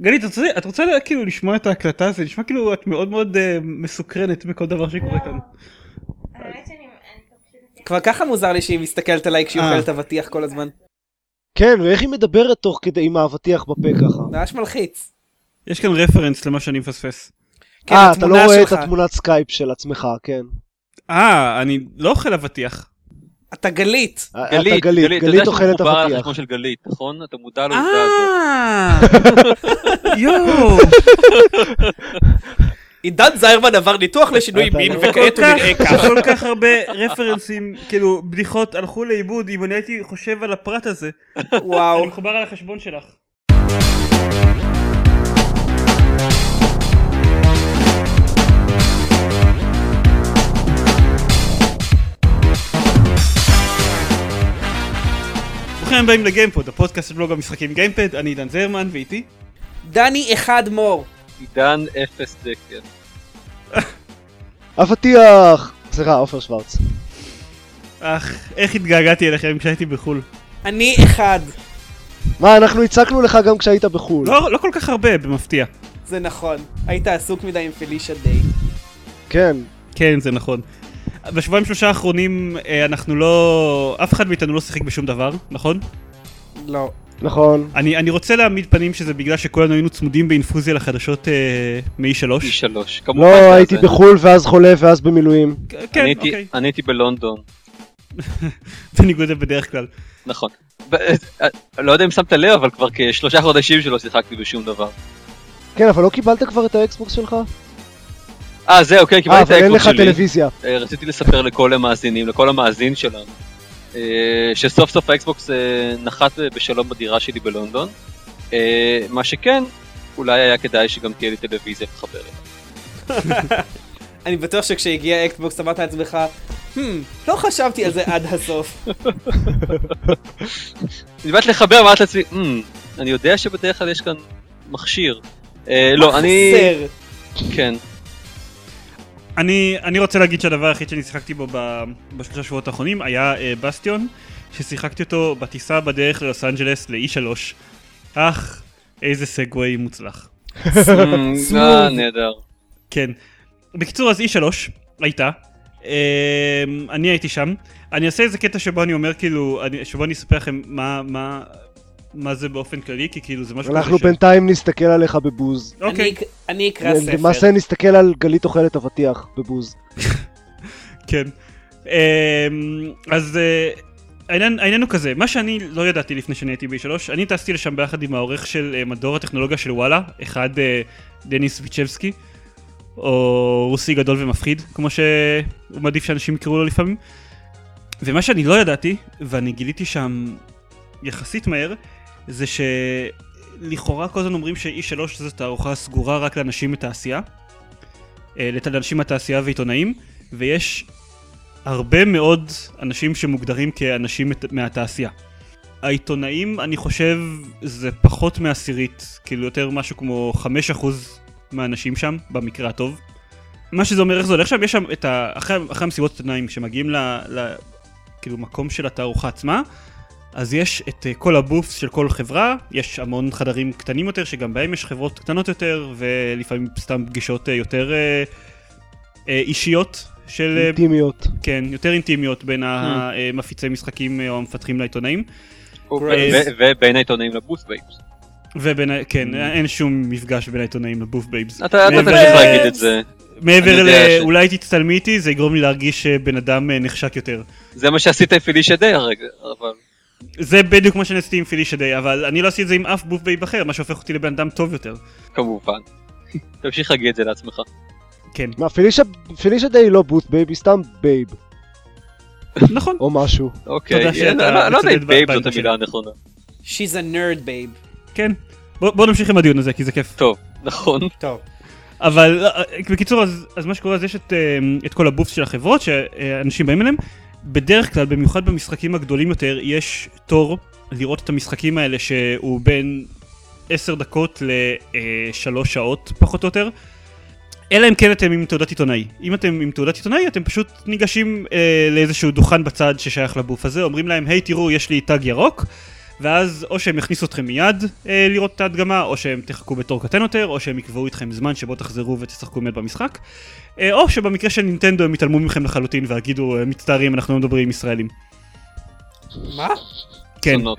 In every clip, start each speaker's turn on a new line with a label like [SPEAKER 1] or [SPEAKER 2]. [SPEAKER 1] גלית, את רוצה, את רוצה כאילו לשמוע את ההקלטה הזו? נשמע כאילו את מאוד מאוד אה, מסוקרנת מכל דבר שקורה כאן.
[SPEAKER 2] האמת שאני... אני פשוט-
[SPEAKER 3] כבר ככה מוזר לי שהיא מסתכלת עליי כשהיא
[SPEAKER 1] אה.
[SPEAKER 3] אוכלת אבטיח כל הזמן.
[SPEAKER 4] כן, ואיך היא מדברת תוך כדי עם האבטיח בפה ככה?
[SPEAKER 3] ממש מלחיץ.
[SPEAKER 1] יש כאן רפרנס למה שאני מפספס.
[SPEAKER 3] כן,
[SPEAKER 4] אה, אתה
[SPEAKER 3] התמונה
[SPEAKER 4] לא רואה את
[SPEAKER 3] שלך.
[SPEAKER 4] התמונת סקייפ של עצמך, כן.
[SPEAKER 1] אה, אני לא אוכל אבטיח.
[SPEAKER 3] אתה גלית.
[SPEAKER 4] אה, אתה גלית,
[SPEAKER 5] אתה יודע
[SPEAKER 4] גלית אוכלת
[SPEAKER 5] שהוא מחובר על
[SPEAKER 4] אבטיח.
[SPEAKER 5] החשבון של גלית, נכון? אתה מודע לעובדה הזאת.
[SPEAKER 1] אה, יואו,
[SPEAKER 3] עידן זיירמן עבר ניתוח לשינוי
[SPEAKER 4] אתה
[SPEAKER 3] מין
[SPEAKER 4] לא-
[SPEAKER 3] וכעת הוא נראה ככה.
[SPEAKER 1] כל כך הרבה רפרנסים, כאילו בדיחות הלכו לאיבוד אם אני הייתי חושב על הפרט הזה.
[SPEAKER 3] וואו.
[SPEAKER 1] אני מחובר על החשבון שלך. ברוכים הבאים לגיימפוד, הפודקאסט של בלוג המשחקים גיימפד, אני עידן זרמן ואיתי.
[SPEAKER 3] דני אחד מור.
[SPEAKER 5] עידן אפס דקר.
[SPEAKER 4] אבטיח! סליחה, עופר שוורץ.
[SPEAKER 1] אך, איך התגעגעתי אליכם כשהייתי בחו"ל.
[SPEAKER 3] אני אחד.
[SPEAKER 4] מה, אנחנו הצקנו לך גם כשהיית בחו"ל.
[SPEAKER 1] לא, לא כל כך הרבה, במפתיע.
[SPEAKER 3] זה נכון. היית עסוק מדי עם פלישה דיי.
[SPEAKER 4] כן.
[SPEAKER 1] כן, זה נכון. בשבועיים שלושה האחרונים אה, אנחנו לא... אף אחד מאיתנו לא שיחק בשום דבר, נכון?
[SPEAKER 3] לא.
[SPEAKER 4] נכון.
[SPEAKER 1] אני, אני רוצה להעמיד פנים שזה בגלל שכולנו היינו צמודים באינפוזיה לחדשות אה, מ-E3.
[SPEAKER 5] פי שלוש. כמובן זה
[SPEAKER 4] לא,
[SPEAKER 5] הזה.
[SPEAKER 4] הייתי בחו"ל ואז חולה ואז במילואים.
[SPEAKER 1] כן,
[SPEAKER 5] אני הייתי-
[SPEAKER 1] אוקיי.
[SPEAKER 5] אני הייתי בלונדון.
[SPEAKER 1] בניגוד לבדרך כלל.
[SPEAKER 5] נכון. ב- אה, לא יודע אם שמת לב, אבל כבר כשלושה חודשים שלא שיחקתי בשום דבר.
[SPEAKER 4] כן, אבל לא קיבלת כבר את האקסבוקס שלך?
[SPEAKER 5] אה, זהו, כן,
[SPEAKER 4] אה,
[SPEAKER 5] קיבלתי את
[SPEAKER 4] אבל אין
[SPEAKER 5] האקבוקס
[SPEAKER 4] לך
[SPEAKER 5] שלי.
[SPEAKER 4] טלוויזיה.
[SPEAKER 5] אה, רציתי לספר לכל המאזינים, לכל המאזין שלנו, אה, שסוף סוף האקסבוקס אה, נחת אה, בשלום בדירה שלי בלונדון. אה, מה שכן, אולי היה כדאי שגם תהיה לי טלוויזיה מחברת.
[SPEAKER 3] אני בטוח שכשהגיע האקסבוקס אמרת לעצמך, "הם, לא חשבתי על זה עד הסוף.
[SPEAKER 5] אני באת לחבר, אמרת לעצמי, "אמ, אני יודע שבדרך כלל יש כאן מכשיר. אה, לא, אני...
[SPEAKER 3] חסר.
[SPEAKER 5] כן.
[SPEAKER 1] אני, אני רוצה להגיד שהדבר היחיד שאני שיחקתי בו ב, בשלושה שבועות האחרונים היה אה, בסטיון, ששיחקתי אותו בטיסה בדרך ללוס אנג'לס ל-E3. אך, איזה סגווי מוצלח.
[SPEAKER 5] אמ, אה, נהדר.
[SPEAKER 1] כן. בקיצור, אז E3 הייתה. אמ, אני הייתי שם. אני אעשה איזה קטע שבו אני אומר, כאילו, אני, שבו אני אספר לכם מה, מה, מה זה באופן כללי, כי כאילו זה משהו
[SPEAKER 4] אנחנו בינתיים נסתכל עליך בבוז.
[SPEAKER 1] אוקיי,
[SPEAKER 3] אני אק- אני אקרא ספר.
[SPEAKER 4] למעשה נסתכל על גלית אוכלת אבטיח בבוז.
[SPEAKER 1] כן. אמ, אז אה, העניין העניין הוא כזה, מה שאני לא ידעתי לפני שאני הייתי ב-E3, אני טסתי לשם ביחד עם העורך של אה, מדור הטכנולוגיה של וואלה, אחד אה, דניס ויצ'בסקי, או רוסי גדול ומפחיד, כמו שהוא מעדיף שאנשים יקראו לו לפעמים. ומה שאני לא ידעתי, ואני גיליתי שם יחסית מהר, זה שלכאורה כל הזמן אומרים ש-E3 זו תערוכה סגורה רק לאנשים מתעשייה, אה, לת- לאנשים מהתעשייה ועיתונאים, ויש הרבה מאוד אנשים שמוגדרים כאנשים מת- מהתעשייה. העיתונאים, אני חושב, זה פחות מעשירית, כאילו יותר משהו כמו 5% מהאנשים שם, במקרה הטוב. מה שזה אומר, איך זה הולך שם, יש שם את ה... אחרי, אחרי המסיבות עיתונאים שמגיעים ל... ל... כאילו מקום של התערוכה עצמה, אז יש את אה, כל הבוף של כל חברה, יש המון חדרים קטנים יותר, שגם בהם יש חברות קטנות יותר, ולפעמים סתם פגישות אה, יותר אה, אה, אישיות של אה,
[SPEAKER 4] אינטימיות.
[SPEAKER 1] כן, יותר אינטימיות בין המפיצי משחקים אה, או המפתחים לעיתונאים.
[SPEAKER 4] אוקיי.
[SPEAKER 5] ו- ובין העיתונאים לבוס בייבס.
[SPEAKER 1] ובין, ה- כן, אין שום מפגש בין העיתונאים לבוף בייבס.
[SPEAKER 5] Mm. אתה אתה
[SPEAKER 1] מעבר-
[SPEAKER 5] צריך להגיד את זה.
[SPEAKER 1] מעבר
[SPEAKER 5] אני
[SPEAKER 1] ל...
[SPEAKER 5] יודע ש-
[SPEAKER 1] אולי תצטלמי איתי, זה יגרום לי להרגיש אה, בן אדם אה, נחשק יותר.
[SPEAKER 5] זה מה שעשית עם פלישה די הרגע, אבל...
[SPEAKER 1] זה בדיוק מה שאני עשיתי עם פילישה דיי, אבל אני לא עשיתי את זה עם אף בוף בייב אחר, מה שהופך אותי לבן אדם טוב יותר.
[SPEAKER 5] כמובן. תמשיך להגיד את זה לעצמך.
[SPEAKER 1] כן,
[SPEAKER 4] מה, פילישה- פילישה דיי היא לא בוט בייב, היא סתם בייב,
[SPEAKER 1] נכון.
[SPEAKER 4] או משהו.
[SPEAKER 5] אוקיי.
[SPEAKER 1] תודה שאתה
[SPEAKER 5] לא- לא לא יודע
[SPEAKER 1] מצדד
[SPEAKER 5] אם בייב
[SPEAKER 1] ב-
[SPEAKER 5] זאת
[SPEAKER 1] בעמדה
[SPEAKER 5] המילה הנכונה.
[SPEAKER 3] She's a nerd babe.
[SPEAKER 1] כן. בוא- בוא נמשיך עם הדיון הזה, כי זה כיף.
[SPEAKER 5] טוב, נכון.
[SPEAKER 3] טוב.
[SPEAKER 1] אבל אה, בקיצור, אז, אז מה שקורה, אז יש את, אה, את כל הבופס של החברות שאנשים באים אליהם. בדרך כלל, במיוחד במשחקים הגדולים יותר, יש תור לראות את המשחקים האלה שהוא בין 10 דקות ל-3 שעות פחות או יותר. אלא אם כן אתם עם תעודת עיתונאי. אם אתם עם תעודת עיתונאי, אתם פשוט ניגשים אה, לאיזשהו דוכן בצד ששייך לבוף הזה, אומרים להם, היי, תראו, יש לי תג ירוק, ואז או שהם יכניסו אתכם מיד אה, לראות את ההדגמה, או שהם תחכו בתור קטן יותר, או שהם יקבעו איתכם זמן שבו תחזרו ותשחקו מיד במשחק, אה, או שבמקרה של נינטנדו הם יתעלמו מכם לחלוטין ויגידו, "אה, מצטערים, אנחנו לא מדברים עם ישראלים.
[SPEAKER 3] מה?
[SPEAKER 1] כן,
[SPEAKER 5] שונות.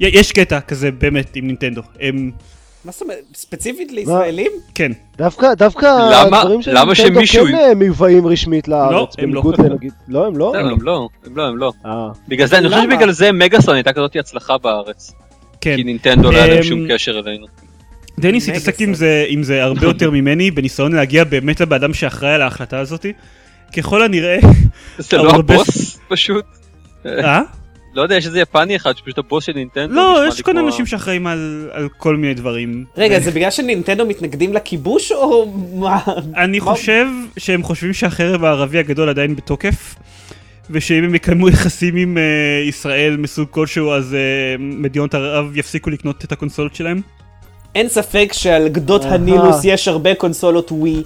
[SPEAKER 1] י- יש קטע כזה באמת עם נינטנדו. הם,
[SPEAKER 3] מה זאת אומרת? ספציפית לישראלים?
[SPEAKER 1] כן,
[SPEAKER 4] דווקא, דווקא
[SPEAKER 5] למה-
[SPEAKER 4] הדברים של
[SPEAKER 5] למה
[SPEAKER 4] נינטנדו
[SPEAKER 5] שמישהו-
[SPEAKER 4] כן אה, מיובאים רשמית לארץ,
[SPEAKER 1] הם לא.
[SPEAKER 4] בניגוד לנגיד, לא הם לא?
[SPEAKER 5] לא, הם לא, הם לא, הם לא.
[SPEAKER 4] אה,
[SPEAKER 5] בגלל זה, אני חושב
[SPEAKER 3] למה?
[SPEAKER 5] שבגלל זה מגאסון הייתה כזאת הצלחה בארץ.
[SPEAKER 1] כן.
[SPEAKER 5] כי נינטנדו לא היה להם
[SPEAKER 1] אמ,
[SPEAKER 5] שום קשר אלינו.
[SPEAKER 1] דניס
[SPEAKER 3] מגה
[SPEAKER 1] התעסק
[SPEAKER 3] סרט.
[SPEAKER 1] עם זה, עם זה הרבה יותר ממני, בניסיון להגיע באמת לבן אדם שאחראי על ההחלטה הזאתי. ככל הנראה,
[SPEAKER 5] זה לא
[SPEAKER 1] אבל
[SPEAKER 5] הבוס פשוט?
[SPEAKER 1] אה?
[SPEAKER 5] לא יודע, יש איזה יפני אחד שפשוט הבוס של נינטנדו.
[SPEAKER 1] לא,
[SPEAKER 5] נשמע
[SPEAKER 1] יש
[SPEAKER 5] לי
[SPEAKER 1] כל מיני
[SPEAKER 5] כמו-
[SPEAKER 1] אנשים שאחראים על על כל מיני דברים. אה,
[SPEAKER 3] רגע, זה בגלל שנינטנדו מתנגדים לכיבוש או מה?
[SPEAKER 1] אני
[SPEAKER 3] מה-
[SPEAKER 1] חושב שהם חושבים שהחרב הערבי הגדול עדיין בתוקף, ושאם הם יקיימו יחסים עם אה, ישראל מסוג כלשהו, אז אה, מדינות ערב יפסיקו לקנות את הקונסולות שלהם.
[SPEAKER 3] אין ספק שעל גדות
[SPEAKER 4] אהה.
[SPEAKER 3] הנילוס יש הרבה קונסולות ווי.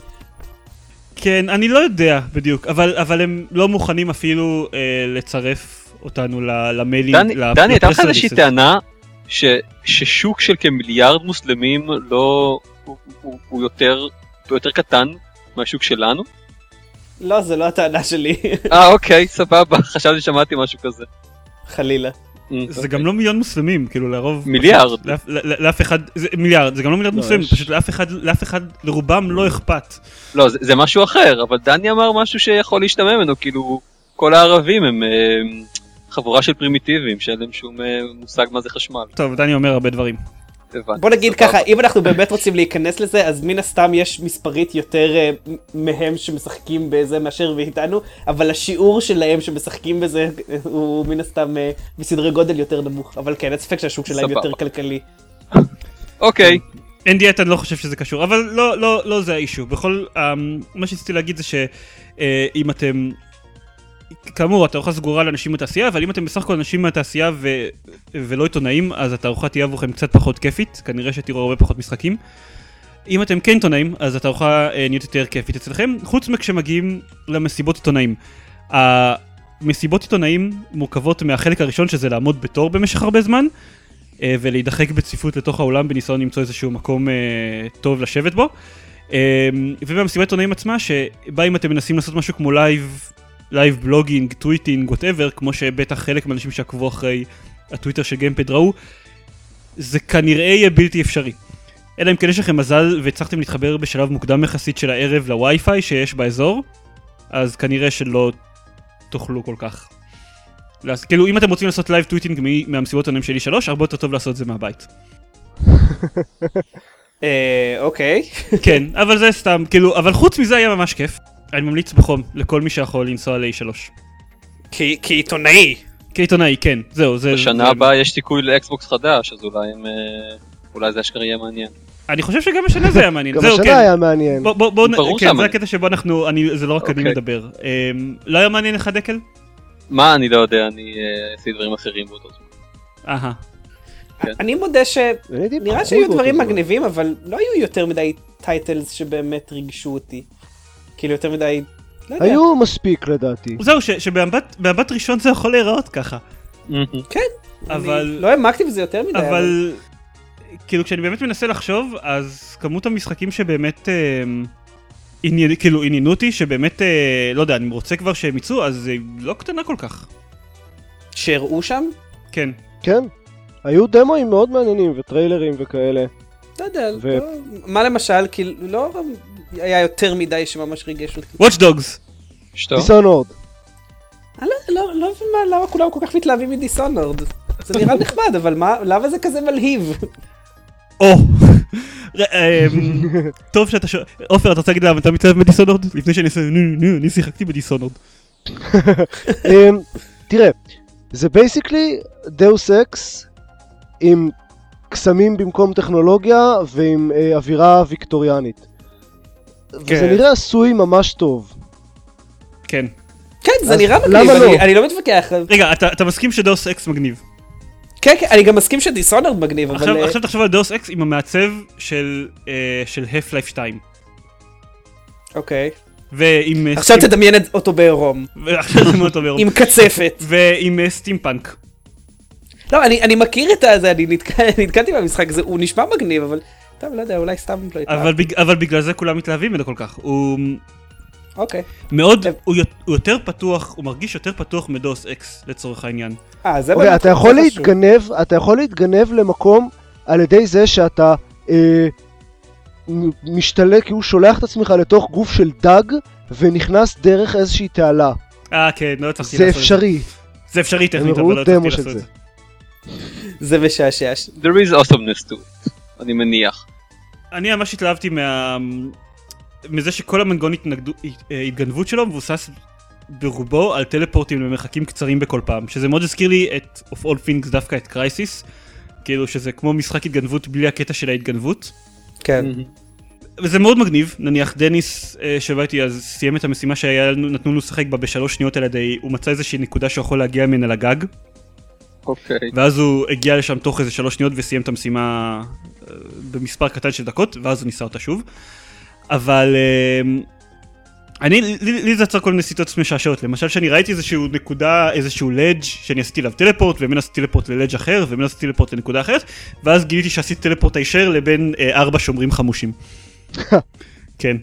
[SPEAKER 1] כן, אני לא יודע בדיוק, אבל אבל הם לא מוכנים אפילו אה, לצרף אותנו ל- למיילים.
[SPEAKER 5] דני,
[SPEAKER 1] לפ-
[SPEAKER 5] דני, הייתה לך
[SPEAKER 1] לפרס
[SPEAKER 5] איזושהי
[SPEAKER 1] סרוויסס.
[SPEAKER 5] טענה ש, ששוק של כמיליארד מוסלמים לא... הוא, הוא, הוא יותר, הוא יותר קטן מהשוק שלנו?
[SPEAKER 3] לא, זו לא הטענה שלי,
[SPEAKER 5] אה, אוקיי, סבבה, חשבתי ששמעתי משהו כזה. אוקיי.
[SPEAKER 3] חלילה.
[SPEAKER 1] זה גם לא מיליון מוסלמים, כאילו לרוב...
[SPEAKER 5] מיליארד.
[SPEAKER 1] פשוט לאף- לא- לאף אחד, זה מיליארד, זה גם לא מיליארד
[SPEAKER 4] לא,
[SPEAKER 1] מוסלמים,
[SPEAKER 4] יש.
[SPEAKER 1] פשוט לאף אחד, לאף אחד, לרובם לא אכפת.
[SPEAKER 5] לא, זה, זה משהו אחר, אבל דני אמר משהו שיכול להשתמע ממנו, כאילו, כל הערבים הם אה, חבורה של פרימיטיבים, שאין להם שום אה, מושג מה זה חשמל.
[SPEAKER 1] טוב, דני אומר הרבה דברים.
[SPEAKER 5] הבנתי,
[SPEAKER 3] בוא נגיד
[SPEAKER 5] סבבה.
[SPEAKER 3] ככה, אם אנחנו באמת רוצים להיכנס לזה, אז מן הסתם יש מספרית יותר אה, מ- מהם שמשחקים בזה מאשר מאיתנו, אבל השיעור שלהם שמשחקים בזה אה, הוא מן הסתם אה, בסדרי גודל יותר נמוך. אבל כן, אין ספק שהשוק שלהם
[SPEAKER 5] סבבה.
[SPEAKER 3] יותר כלכלי.
[SPEAKER 5] אוקיי,
[SPEAKER 1] אין דיאט, אני לא חושב שזה קשור, אבל לא, לא, לא זה האישו. בכל, um, מה שרציתי להגיד זה שאם uh, אתם, כאמור, התערוכה סגורה לאנשים מהתעשייה, אבל אם אתם בסך הכל אנשים מהתעשייה ו, ולא עיתונאים, אז התערוכה תהיה עבורכם קצת פחות כיפית, כנראה שתראו הרבה פחות משחקים. אם אתם כן עיתונאים, אז התערוכה אה, נהיית יותר כיפית אצלכם, חוץ מכשמגיעים למסיבות עיתונאים. המסיבות עיתונאים מורכבות מהחלק הראשון, שזה לעמוד בתור במשך הרבה זמן, אה, ולהידחק בצפיפות לתוך האולם בניסיון למצוא איזשהו מקום אה, טוב לשבת בו. אה, ובמסיבת עיתונאים עצמה, שבה אם אתם מנסים לעשות משהו כמו לייב, לייב בלוגינג, טוויטינג, ווטאבר, כמו שבטח חלק מהאנשים שעקבו אחרי הטוויטר של גיימפד ראו, זה כנראה יהיה בלתי אפשרי. אלא אם כן יש לכם מזל והצלחתם להתחבר בשלב מוקדם יחסית של הערב לווי-פיי שיש באזור, אז כנראה שלא תאכלו כל כך. לעשות- כאילו אם אתם רוצים לעשות לייב טוויטינג מ- מהמסיבות העונים שלי 3 הרבה יותר טוב לעשות את זה מהבית.
[SPEAKER 3] אה, אוקיי.
[SPEAKER 1] כן אבל זה סתם כאילו אבל חוץ מזה היה ממש כיף. אני ממליץ בחום לכל מי שיכול לנסוע ל-E3.
[SPEAKER 3] כעיתונאי.
[SPEAKER 1] כעיתונאי כן זהו זה.
[SPEAKER 5] בשנה
[SPEAKER 1] זה-
[SPEAKER 5] הבאה יש סיכוי לאקסבוקס חדש, אז אולי הם... אה, אולי זה אשכרה יהיה מעניין.
[SPEAKER 1] אני חושב שגם השנה זה היה מעניין.
[SPEAKER 4] גם
[SPEAKER 1] זהו
[SPEAKER 4] השנה
[SPEAKER 1] כן.
[SPEAKER 4] היה מעניין.
[SPEAKER 1] בוא בוא בוא
[SPEAKER 5] ברור
[SPEAKER 1] כן
[SPEAKER 5] שהיה
[SPEAKER 1] זה
[SPEAKER 5] מעניין.
[SPEAKER 1] הקטע שבו אנחנו אני זה לא רק אני
[SPEAKER 5] אוקיי.
[SPEAKER 1] מדבר. אמ, לא היה מעניין לך דקל?
[SPEAKER 5] מה, אני לא יודע, אני אה, עשיתי דברים אחרים באותו זמן.
[SPEAKER 1] אהה.
[SPEAKER 5] כן.
[SPEAKER 3] אני מודה ש...
[SPEAKER 4] אני הייתי
[SPEAKER 3] נראה
[SPEAKER 4] בחו"ל
[SPEAKER 3] שהיו
[SPEAKER 4] באותו
[SPEAKER 3] דברים
[SPEAKER 4] זמן.
[SPEAKER 3] מגניבים, אבל לא היו יותר מדי טייטלס שבאמת ריגשו אותי. כאילו יותר מדי... לא יודע.
[SPEAKER 4] היו מספיק לדעתי.
[SPEAKER 1] זהו ש- שבמבט במבט ראשון זה יכול להיראות ככה.
[SPEAKER 3] אני
[SPEAKER 1] אבל
[SPEAKER 3] לא העמקתי בזה יותר מדי.
[SPEAKER 1] אבל כאילו כשאני באמת מנסה לחשוב אז כמות המשחקים שבאמת אה, עניין, כאילו עניינו אותי שבאמת אה, לא יודע אני רוצה כבר שהם יצאו אז היא לא קטנה כל כך.
[SPEAKER 3] שהראו שם?
[SPEAKER 1] כן.
[SPEAKER 4] כן. היו דמוים מאוד מעניינים וטריילרים וכאלה.
[SPEAKER 3] לא יודע.
[SPEAKER 4] ו-
[SPEAKER 3] לא- מה למשל, כאילו, לא היה יותר מדי שממש ריגש אותי.
[SPEAKER 1] Watch Dogs.
[SPEAKER 5] אשתו?
[SPEAKER 4] דיסאונורד.
[SPEAKER 3] אני לא- לא לא מבין מה- למה כולם כל כך מתלהבים מדיסונורד. זה נראה נחמד, אבל מה- למה זה כזה מלהיב?
[SPEAKER 1] או. ר- אה, טוב שאתה שואל, עופר אתה רוצה להגיד למה אתה מתלהב בדיסונורד? לפני שאני אעשה נו נו אני שיחקתי בדיסונורד.
[SPEAKER 4] אמ, תראה, זה בייסיקלי דאוס אקס עם קסמים במקום טכנולוגיה ועם אה, אווירה ויקטוריאנית. וזה
[SPEAKER 3] כן.
[SPEAKER 4] נראה עשוי ממש טוב.
[SPEAKER 1] כן.
[SPEAKER 3] כן, זה
[SPEAKER 4] אז
[SPEAKER 3] נראה
[SPEAKER 4] למה
[SPEAKER 3] מגניב, אני-
[SPEAKER 4] לא?
[SPEAKER 3] אני לא מתווכח.
[SPEAKER 1] רגע אתה אתה מסכים שדאוס אקס מגניב.
[SPEAKER 3] כן, כן, אני גם מסכים שדיסונורד מגניב, אבל...
[SPEAKER 1] עכשיו
[SPEAKER 3] אה,
[SPEAKER 1] עכשיו תחשוב על דאוס אקס עם המעצב של אה, של half life 2.
[SPEAKER 3] אוקיי.
[SPEAKER 1] ועם... אה,
[SPEAKER 3] עכשיו
[SPEAKER 1] Steam-
[SPEAKER 3] תדמיין את-
[SPEAKER 1] לא.
[SPEAKER 3] אותו בעירום.
[SPEAKER 1] ועכשיו תדמיין אותו בעירום.
[SPEAKER 3] עם קצפת.
[SPEAKER 1] ועם אה, סטימפאנק.
[SPEAKER 3] לא, אני, אני מכיר את הזה, אני נתק... נתקלתי במשחק הזה, הוא נשמע מגניב, אבל טוב, לא יודע, אולי סתם לא
[SPEAKER 1] אבל, בג... אבל בגלל זה כולם מתלהבים ממנו כל כך. הוא
[SPEAKER 3] אוקיי.
[SPEAKER 1] מאוד,
[SPEAKER 4] כן.
[SPEAKER 1] הוא, יות- הוא יותר פתוח, הוא מרגיש יותר פתוח מדוס אקס לצורך העניין.
[SPEAKER 3] אה, זה
[SPEAKER 4] אוקיי,
[SPEAKER 3] באמת
[SPEAKER 4] אתה יכול
[SPEAKER 3] זה חשוב.
[SPEAKER 4] להתגנב, אתה יכול להתגנב למקום על ידי זה שאתה אה, מ- משתלט, כי הוא שולח את עצמך לתוך גוף של דג ונכנס דרך איזושהי תעלה.
[SPEAKER 1] אה כן, לא הצלחתי
[SPEAKER 4] זה
[SPEAKER 1] לעשות את זה.
[SPEAKER 4] אפשרי.
[SPEAKER 1] זה אפשרי טכנית,
[SPEAKER 4] הם
[SPEAKER 1] אבל
[SPEAKER 4] הראו
[SPEAKER 1] לא הצלחתי
[SPEAKER 4] דמו של
[SPEAKER 1] לעשות את
[SPEAKER 4] זה.
[SPEAKER 1] זה.
[SPEAKER 3] זה משעשע. ש-
[SPEAKER 5] There is awesomeness to it, אני מניח.
[SPEAKER 1] אני ממש התלהבתי מה... מזה שכל המנגנון התנגדו... הת- אה, התגנבות שלו מבוסס ברובו על טלפורטים למרחקים קצרים בכל פעם, שזה מאוד הזכיר לי את of all things דווקא את קרייסיס, כאילו שזה כמו משחק התגנבות בלי הקטע של ההתגנבות.
[SPEAKER 3] כן.
[SPEAKER 1] וזה מאוד מגניב, נניח דניס אה, שבא איתי אז סיים את המשימה שנתנו לנו לשחק בה בשלוש שניות על ידי, הוא מצא איזושהי נקודה שהוא יכול להגיע ממנה לגג,
[SPEAKER 5] אוקיי.
[SPEAKER 1] ואז הוא הגיע לשם תוך איזה שלוש שניות וסיים את המשימה אה, במספר קטן של דקות, ואז הוא ניסה אותה שוב. אבל אה, אני, לי, לי זה יצר כל מיני סיטואציות משעשעות, למשל שאני ראיתי איזשהו נקודה, איזשהו לדג' שאני עשיתי אליו טלפורט, ומן עשיתי טלפורט ללדג' אחר, ומן עשיתי טלפורט לנקודה אחרת, ואז גיליתי שעשיתי טלפורט הישר לבין אה, ארבע שומרים חמושים. כן.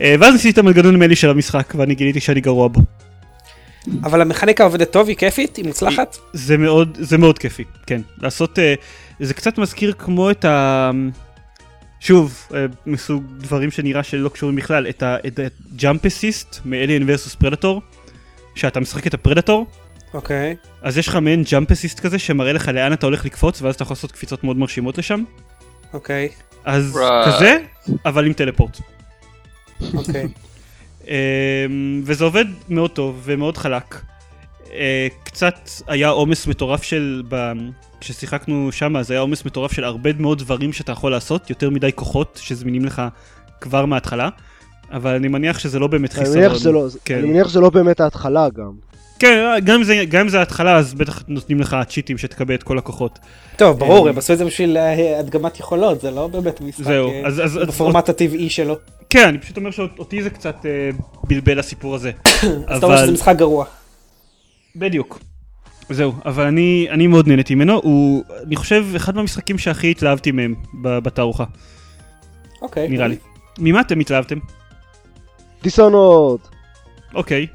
[SPEAKER 1] אה, ואז ניסיתי את המנגנון המלי של המשחק, ואני גיליתי שאני גרוע בו. Mm.
[SPEAKER 3] אבל המכניקה עובדת טוב, היא כיפית, היא מוצלחת.
[SPEAKER 1] זה מאוד, זה מאוד כיפי, כן. לעשות, אה, זה קצת מזכיר כמו את ה... שוב, אה, מסוג דברים שנראה שלא קשורים בכלל, את הג'אמפ אסיסט מאליאן ורסוס פרדטור, שאתה משחק את הפרדטור,
[SPEAKER 3] אוקיי.
[SPEAKER 1] אז יש לך מעין ג'אמפ אסיסט כזה שמראה לך לאן אתה הולך לקפוץ, ואז אתה יכול לעשות קפיצות מאוד מרשימות לשם,
[SPEAKER 3] אוקיי.
[SPEAKER 1] אז
[SPEAKER 5] Right.
[SPEAKER 1] כזה, אבל עם טלפורט.
[SPEAKER 3] אוקיי.
[SPEAKER 1] אמ, וזה עובד מאוד טוב ומאוד חלק. אה, קצת היה עומס מטורף של... ב... כששיחקנו שם אז היה עומס מטורף של הרבה מאוד דברים שאתה יכול לעשות, יותר מדי כוחות שזמינים לך כבר מההתחלה, אבל אני מניח שזה לא באמת
[SPEAKER 4] אני
[SPEAKER 1] חיסרון.
[SPEAKER 4] מניח שזה לא-
[SPEAKER 1] כן.
[SPEAKER 4] אני מניח שזה לא באמת ההתחלה גם.
[SPEAKER 1] כן, גם אם זה, גם אם זה ההתחלה אז בטח נותנים לך צ'יטים שתקבל את כל הכוחות.
[SPEAKER 3] טוב, ברור,
[SPEAKER 1] אה,
[SPEAKER 3] הם עשו את זה בשביל אה, הדגמת יכולות, זה לא באמת משחק
[SPEAKER 1] זהו,
[SPEAKER 3] אה,
[SPEAKER 1] אז... אז, אז
[SPEAKER 3] בפורמט הטבעי שלו.
[SPEAKER 1] כן, אני פשוט אומר שאותי זה קצת אה, בלבל הסיפור הזה.
[SPEAKER 3] אז אתה אומר שזה משחק גרוע.
[SPEAKER 1] בדיוק. זהו, אבל אני, אני מאוד נהניתי ממנו, הוא, אני חושב, אחד מהמשחקים שהכי התלהבתי מהם ב- בתערוכה,
[SPEAKER 3] אוקיי.
[SPEAKER 1] נראה לי. ממה אתם התלהבתם?
[SPEAKER 4] דיסונות.
[SPEAKER 1] אוקיי.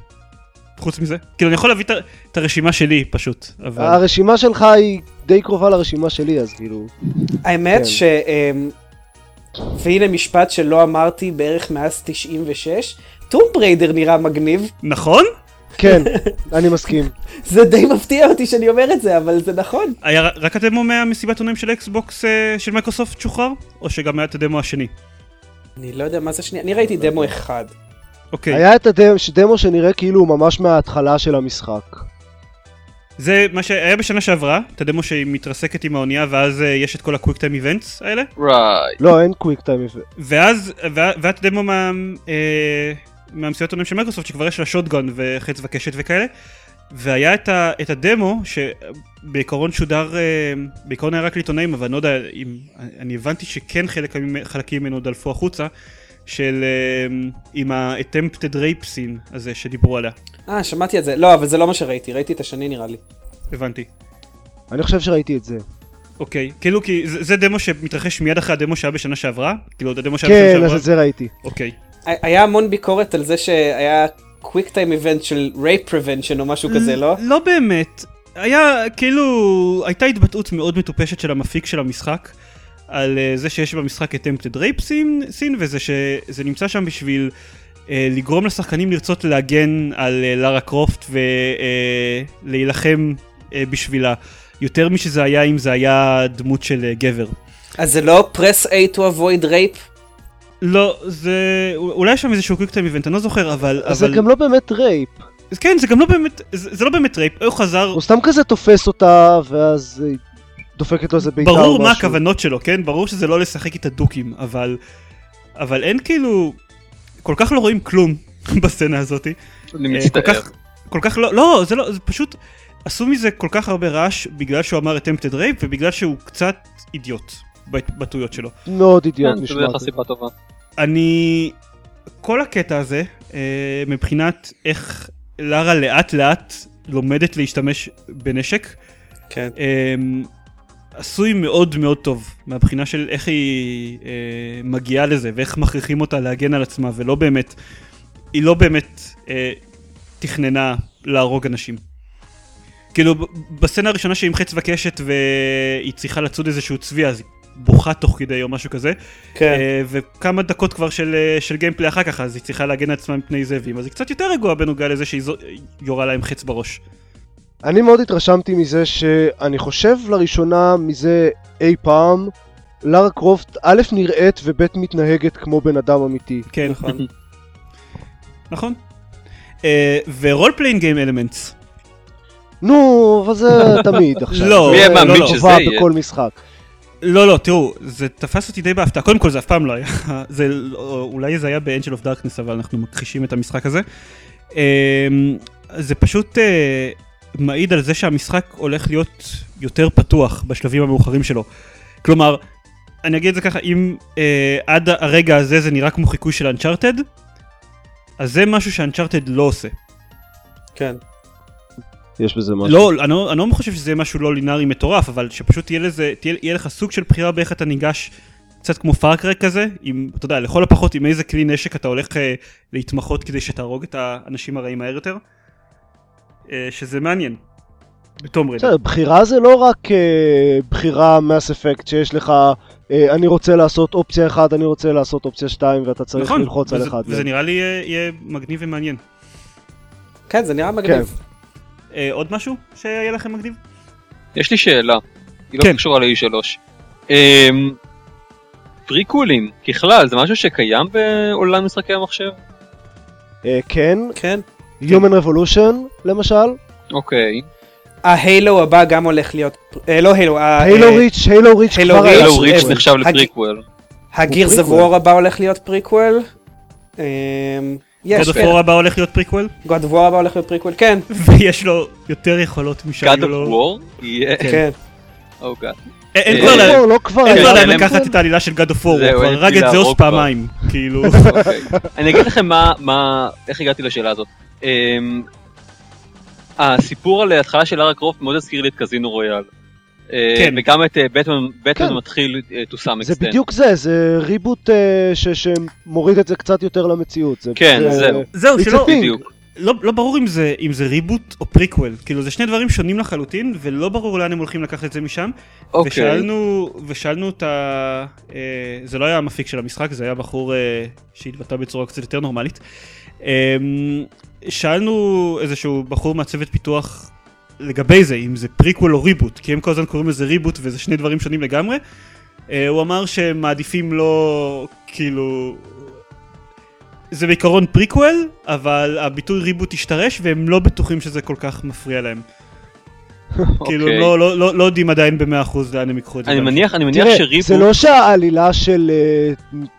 [SPEAKER 1] חוץ מזה? כאילו, אני יכול להביא את ה- את הרשימה שלי, פשוט, אבל...
[SPEAKER 4] הרשימה שלך היא די קרובה לרשימה שלי, אז כאילו...
[SPEAKER 3] האמת
[SPEAKER 4] כן.
[SPEAKER 3] ש... אמ, והנה משפט שלא אמרתי בערך מאז 96, טום בריידר נראה מגניב,
[SPEAKER 1] נכון?
[SPEAKER 4] כן, אני מסכים.
[SPEAKER 1] כן.
[SPEAKER 3] זה די מפתיע אותי שאני אומר את זה, אבל זה נכון.
[SPEAKER 1] היה ר- רק הדמו מהמסיבת עונאים של אקסבוקס אה, של מייקרוסופט שוחרר? או שגם היה את הדמו השני?
[SPEAKER 3] אני לא יודע מה זה שנייה, אני ראיתי דמו אחד.
[SPEAKER 1] אוקיי.
[SPEAKER 4] היה את הדמו שנראה כאילו הוא ממש מההתחלה של המשחק.
[SPEAKER 1] זה מה שהיה בשנה שעברה, את הדמו שהיא מתרסקת עם האונייה, ואז אה, יש את כל הקוויק טיים איבנטס האלה.
[SPEAKER 5] Right.
[SPEAKER 4] לא, אין קוויק טיים איבנט.
[SPEAKER 1] ואז, וה- ואת דמו מה... אה, מהמסיבת עונים של מייקרוסופט שכבר יש לה שוטגון וחץ וקשת וכאלה והיה את, ה, את הדמו שבעיקרון שודר, אה, בעיקרון היה רק לעיתונאים אבל אני לא יודע אם, אני הבנתי שכן חלק, ממ- חלקים ממנו דלפו החוצה של אה, עם ה-attempted rape scene הזה שדיברו עליה,
[SPEAKER 3] אה, שמעתי את זה. לא, אבל זה לא מה שראיתי, ראיתי את השני נראה לי.
[SPEAKER 1] הבנתי.
[SPEAKER 4] אני חושב שראיתי את זה.
[SPEAKER 1] אוקיי, כאילו כי זה, זה דמו שמתרחש מיד אחרי הדמו שהיה בשנה שעברה? כאילו הדמו שהיה בשנה
[SPEAKER 4] כן,
[SPEAKER 1] שעברה?
[SPEAKER 4] אז את זה ראיתי.
[SPEAKER 1] אוקיי.
[SPEAKER 3] היה המון ביקורת על זה שהיה קוויק טיים איבנט של רייפ פרוונשן או משהו כזה, לא?
[SPEAKER 1] לא באמת. היה, כאילו, הייתה התבטאות מאוד מטופשת של המפיק של המשחק, על אה, זה שיש במשחק attempted rape scene, scene וזה שזה נמצא שם בשביל אה, לגרום לשחקנים לרצות להגן על אה, לארה קרופט ולהילחם אה, בשבילה, יותר משזה היה אם זה היה דמות של אה, גבר.
[SPEAKER 3] אז זה לא press A to avoid rape?
[SPEAKER 1] לא, זה... אולי יש שם איזשהו קוויקטיים איבנט, אני לא זוכר, אבל...
[SPEAKER 4] אז זה
[SPEAKER 1] אבל...
[SPEAKER 4] גם לא באמת רייפ.
[SPEAKER 1] כן, זה גם לא באמת... זה, זה לא באמת רייפ, הוא חזר...
[SPEAKER 4] הוא סתם כזה תופס אותה, ואז אה, דופקת לו איזה בעיטה או משהו.
[SPEAKER 1] ברור מה הכוונות שלו, כן? ברור שזה לא לשחק איתה דוקים, אבל... אבל אין כאילו... כל כך לא רואים כלום בסצנה הזאת.
[SPEAKER 5] אני
[SPEAKER 1] אה, כל
[SPEAKER 5] מצטער. כן,
[SPEAKER 1] כך... כל כך לא... לא, זה לא... זה פשוט... עשו מזה כל כך הרבה רעש בגלל שהוא אמר attempted rape ובגלל שהוא קצת אידיוט בהתבטאויות שלו.
[SPEAKER 4] מאוד אידיוט
[SPEAKER 5] כן, זה
[SPEAKER 4] נשמע.
[SPEAKER 5] בערך
[SPEAKER 4] כזה.
[SPEAKER 5] הסיבה טובה.
[SPEAKER 1] אני... כל הקטע הזה, אה, מבחינת איך לארה לאט לאט לומדת להשתמש בנשק,
[SPEAKER 3] כן.
[SPEAKER 1] אמ, עשוי מאוד מאוד טוב, מהבחינה של איך היא אה, מגיעה לזה, ואיך מכריחים אותה להגן על עצמה, ולא באמת, היא לא באמת אה, תכננה להרוג אנשים. כאילו, ב- בסצנה הראשונה שהיא עם חץ וקשת והיא צריכה לצוד איזשהו צבי, אז היא בוכה תוך כדי או משהו כזה,
[SPEAKER 3] כן.
[SPEAKER 1] אה, וכמה דקות כבר של, אה, של גיימפלי אחר כך, אז היא צריכה להגן על עצמה מפני זאבים, אז היא קצת יותר רגועה בנוגע לזה שהיא זו- יורה להם חץ בראש.
[SPEAKER 4] אני מאוד התרשמתי מזה שאני חושב לראשונה מזה אי פעם, לארה קרופט א' נראית וב' מתנהגת כמו בן אדם אמיתי.
[SPEAKER 1] כן,
[SPEAKER 3] נכון.
[SPEAKER 1] נכון. אה, ורול פליינג גיים אלמנטס.
[SPEAKER 4] נו, אבל זה תמיד עכשיו.
[SPEAKER 1] לא,
[SPEAKER 5] מי היה
[SPEAKER 4] זה
[SPEAKER 5] מאמין
[SPEAKER 4] לא
[SPEAKER 5] שזה
[SPEAKER 4] טובה
[SPEAKER 5] יהיה?
[SPEAKER 4] בכל משחק.
[SPEAKER 1] לא, לא, תראו, זה תפס אותי די בהפתעה. קודם כל, זה אף פעם לא היה. זה, לא- אולי זה היה ב-Angel of Darkness, אבל אנחנו מכחישים את המשחק הזה. אמ, זה פשוט אה, מעיד על זה שהמשחק הולך להיות יותר פתוח בשלבים המאוחרים שלו. כלומר, אני אגיד את זה ככה, אם אה, עד הרגע הזה זה נראה כמו חיקוי של אנצ'ארטד, אז זה משהו שאנצ'ארטד לא עושה.
[SPEAKER 3] כן.
[SPEAKER 4] יש בזה משהו.
[SPEAKER 1] לא, אני לא- אני לא חושב שזה יהיה משהו לא לינארי מטורף, אבל שפשוט תהיה לזה, תהיה, יהיה לך סוג של בחירה באיך אתה ניגש, קצת כמו פארקרק כזה, עם, אתה יודע, לכל הפחות עם איזה כלי נשק אתה הולך אה, להתמחות כדי שתהרוג את האנשים הרעים מהר יותר, אה, שזה מעניין. בתום רגע.
[SPEAKER 4] בסדר, בחירה זה לא רק אה, בחירה מס אפקט שיש לך, אה, אני רוצה לעשות אופציה אחת, אני רוצה לעשות אופציה שתיים, ואתה צריך
[SPEAKER 1] נכון,
[SPEAKER 4] ללחוץ על
[SPEAKER 1] וזה-
[SPEAKER 4] אחד. כן.
[SPEAKER 1] וזה נראה לי יהיה, יהיה מגניב ומעניין.
[SPEAKER 3] כן, זה נראה מגניב.
[SPEAKER 1] אה, עוד משהו שיהיה לכם מגניב?
[SPEAKER 5] יש לי שאלה, היא
[SPEAKER 1] כן.
[SPEAKER 5] לא קשורה ל-E3. פריקולים, ככלל, זה משהו שקיים בעולם משחקי המחשב?
[SPEAKER 4] אה, כן,
[SPEAKER 3] כן.
[SPEAKER 4] Human Revolution למשל,
[SPEAKER 5] אוקיי.
[SPEAKER 3] ההיילו הבא גם הולך להיות... אה, לא הילו, ה-
[SPEAKER 4] הילו
[SPEAKER 3] אה,
[SPEAKER 4] ריץ', הילו ריץ'
[SPEAKER 3] Halo
[SPEAKER 4] כבר
[SPEAKER 3] Reach.
[SPEAKER 4] היה.
[SPEAKER 5] הלו
[SPEAKER 3] אה,
[SPEAKER 5] ריץ'
[SPEAKER 3] אה,
[SPEAKER 5] נחשב
[SPEAKER 3] הג-
[SPEAKER 5] לפריקוול.
[SPEAKER 3] הגירס
[SPEAKER 4] הוא
[SPEAKER 3] אוף
[SPEAKER 4] prequel.
[SPEAKER 3] וור הבא הולך להיות פריקוול.
[SPEAKER 1] God
[SPEAKER 3] אמ, יש,
[SPEAKER 4] כן.
[SPEAKER 1] of War הבא הולך להיות פריקוול,
[SPEAKER 3] גוד וור הבא הולך להיות פריקוול, כן,
[SPEAKER 1] ויש לו יותר יכולות משהיו
[SPEAKER 5] God of
[SPEAKER 1] לו.
[SPEAKER 5] War? יהיה-
[SPEAKER 3] כן.
[SPEAKER 5] Oh God.
[SPEAKER 1] אה, אין
[SPEAKER 5] אה,
[SPEAKER 1] כבר... לה-
[SPEAKER 4] לא, לא כבר
[SPEAKER 1] אין
[SPEAKER 5] כן,
[SPEAKER 1] כבר
[SPEAKER 5] אבל
[SPEAKER 1] להם
[SPEAKER 5] הם-
[SPEAKER 1] לקחת את העלילה של God of War, הוא
[SPEAKER 5] זהו,
[SPEAKER 1] כבר
[SPEAKER 5] אין את
[SPEAKER 1] הרג
[SPEAKER 5] מי
[SPEAKER 1] את זהוס
[SPEAKER 5] להרוג כבר.
[SPEAKER 1] פעמיים, כאילו.
[SPEAKER 5] אוקיי. אני אגיד לכם מה, מה, איך הגעתי לשאלה הזאת. אמ, הסיפור על ההתחלה של לארה קרופט מאוד הזכיר לי את קזינו רויאל. אה,
[SPEAKER 1] כן.
[SPEAKER 5] וגם את אה, בטמן, בטמן
[SPEAKER 4] כן.
[SPEAKER 5] מתחיל אה, to some extent.
[SPEAKER 4] זה בדיוק זה, זה ריבוט אה, ש- שמוריד את זה קצת יותר למציאות. זה-
[SPEAKER 5] כן,
[SPEAKER 4] זה-
[SPEAKER 5] זהו.
[SPEAKER 1] זהו,
[SPEAKER 4] It's
[SPEAKER 1] שלא,
[SPEAKER 4] a thing.
[SPEAKER 5] בדיוק.
[SPEAKER 1] לא, לא ברור אם זה, אם זה ריבוט או פריקוול, כאילו זה שני דברים שונים לחלוטין, ולא ברור לאן הם הולכים לקחת את זה משם.
[SPEAKER 5] אוקיי.
[SPEAKER 1] ושאלנו, ושאלנו את ה... אה, זה לא היה המפיק של המשחק, זה היה בחור אה, שהתבטא בצורה קצת יותר נורמלית. אה, שאלנו איזשהו בחור מהצוות פיתוח לגבי זה, אם זה פריקוול או ריבוט, כי הם כל הזמן קוראים לזה ריבוט וזה שני דברים שונים לגמרי. אה, הוא אמר שהם מעדיפים לא, כאילו... זה בעיקרון פריקוול, אבל הביטוי ריבוט השתרש והם לא בטוחים שזה כל כך מפריע להם. כאילו
[SPEAKER 5] אוקיי.
[SPEAKER 1] הם לא, לא, לא, לא יודעים עדיין במאה אחוז לאן הם ייקחו את זה.
[SPEAKER 5] אני מניח, אני מניח
[SPEAKER 4] תראה, זה
[SPEAKER 5] שריבוט,
[SPEAKER 4] לא שהעלילה של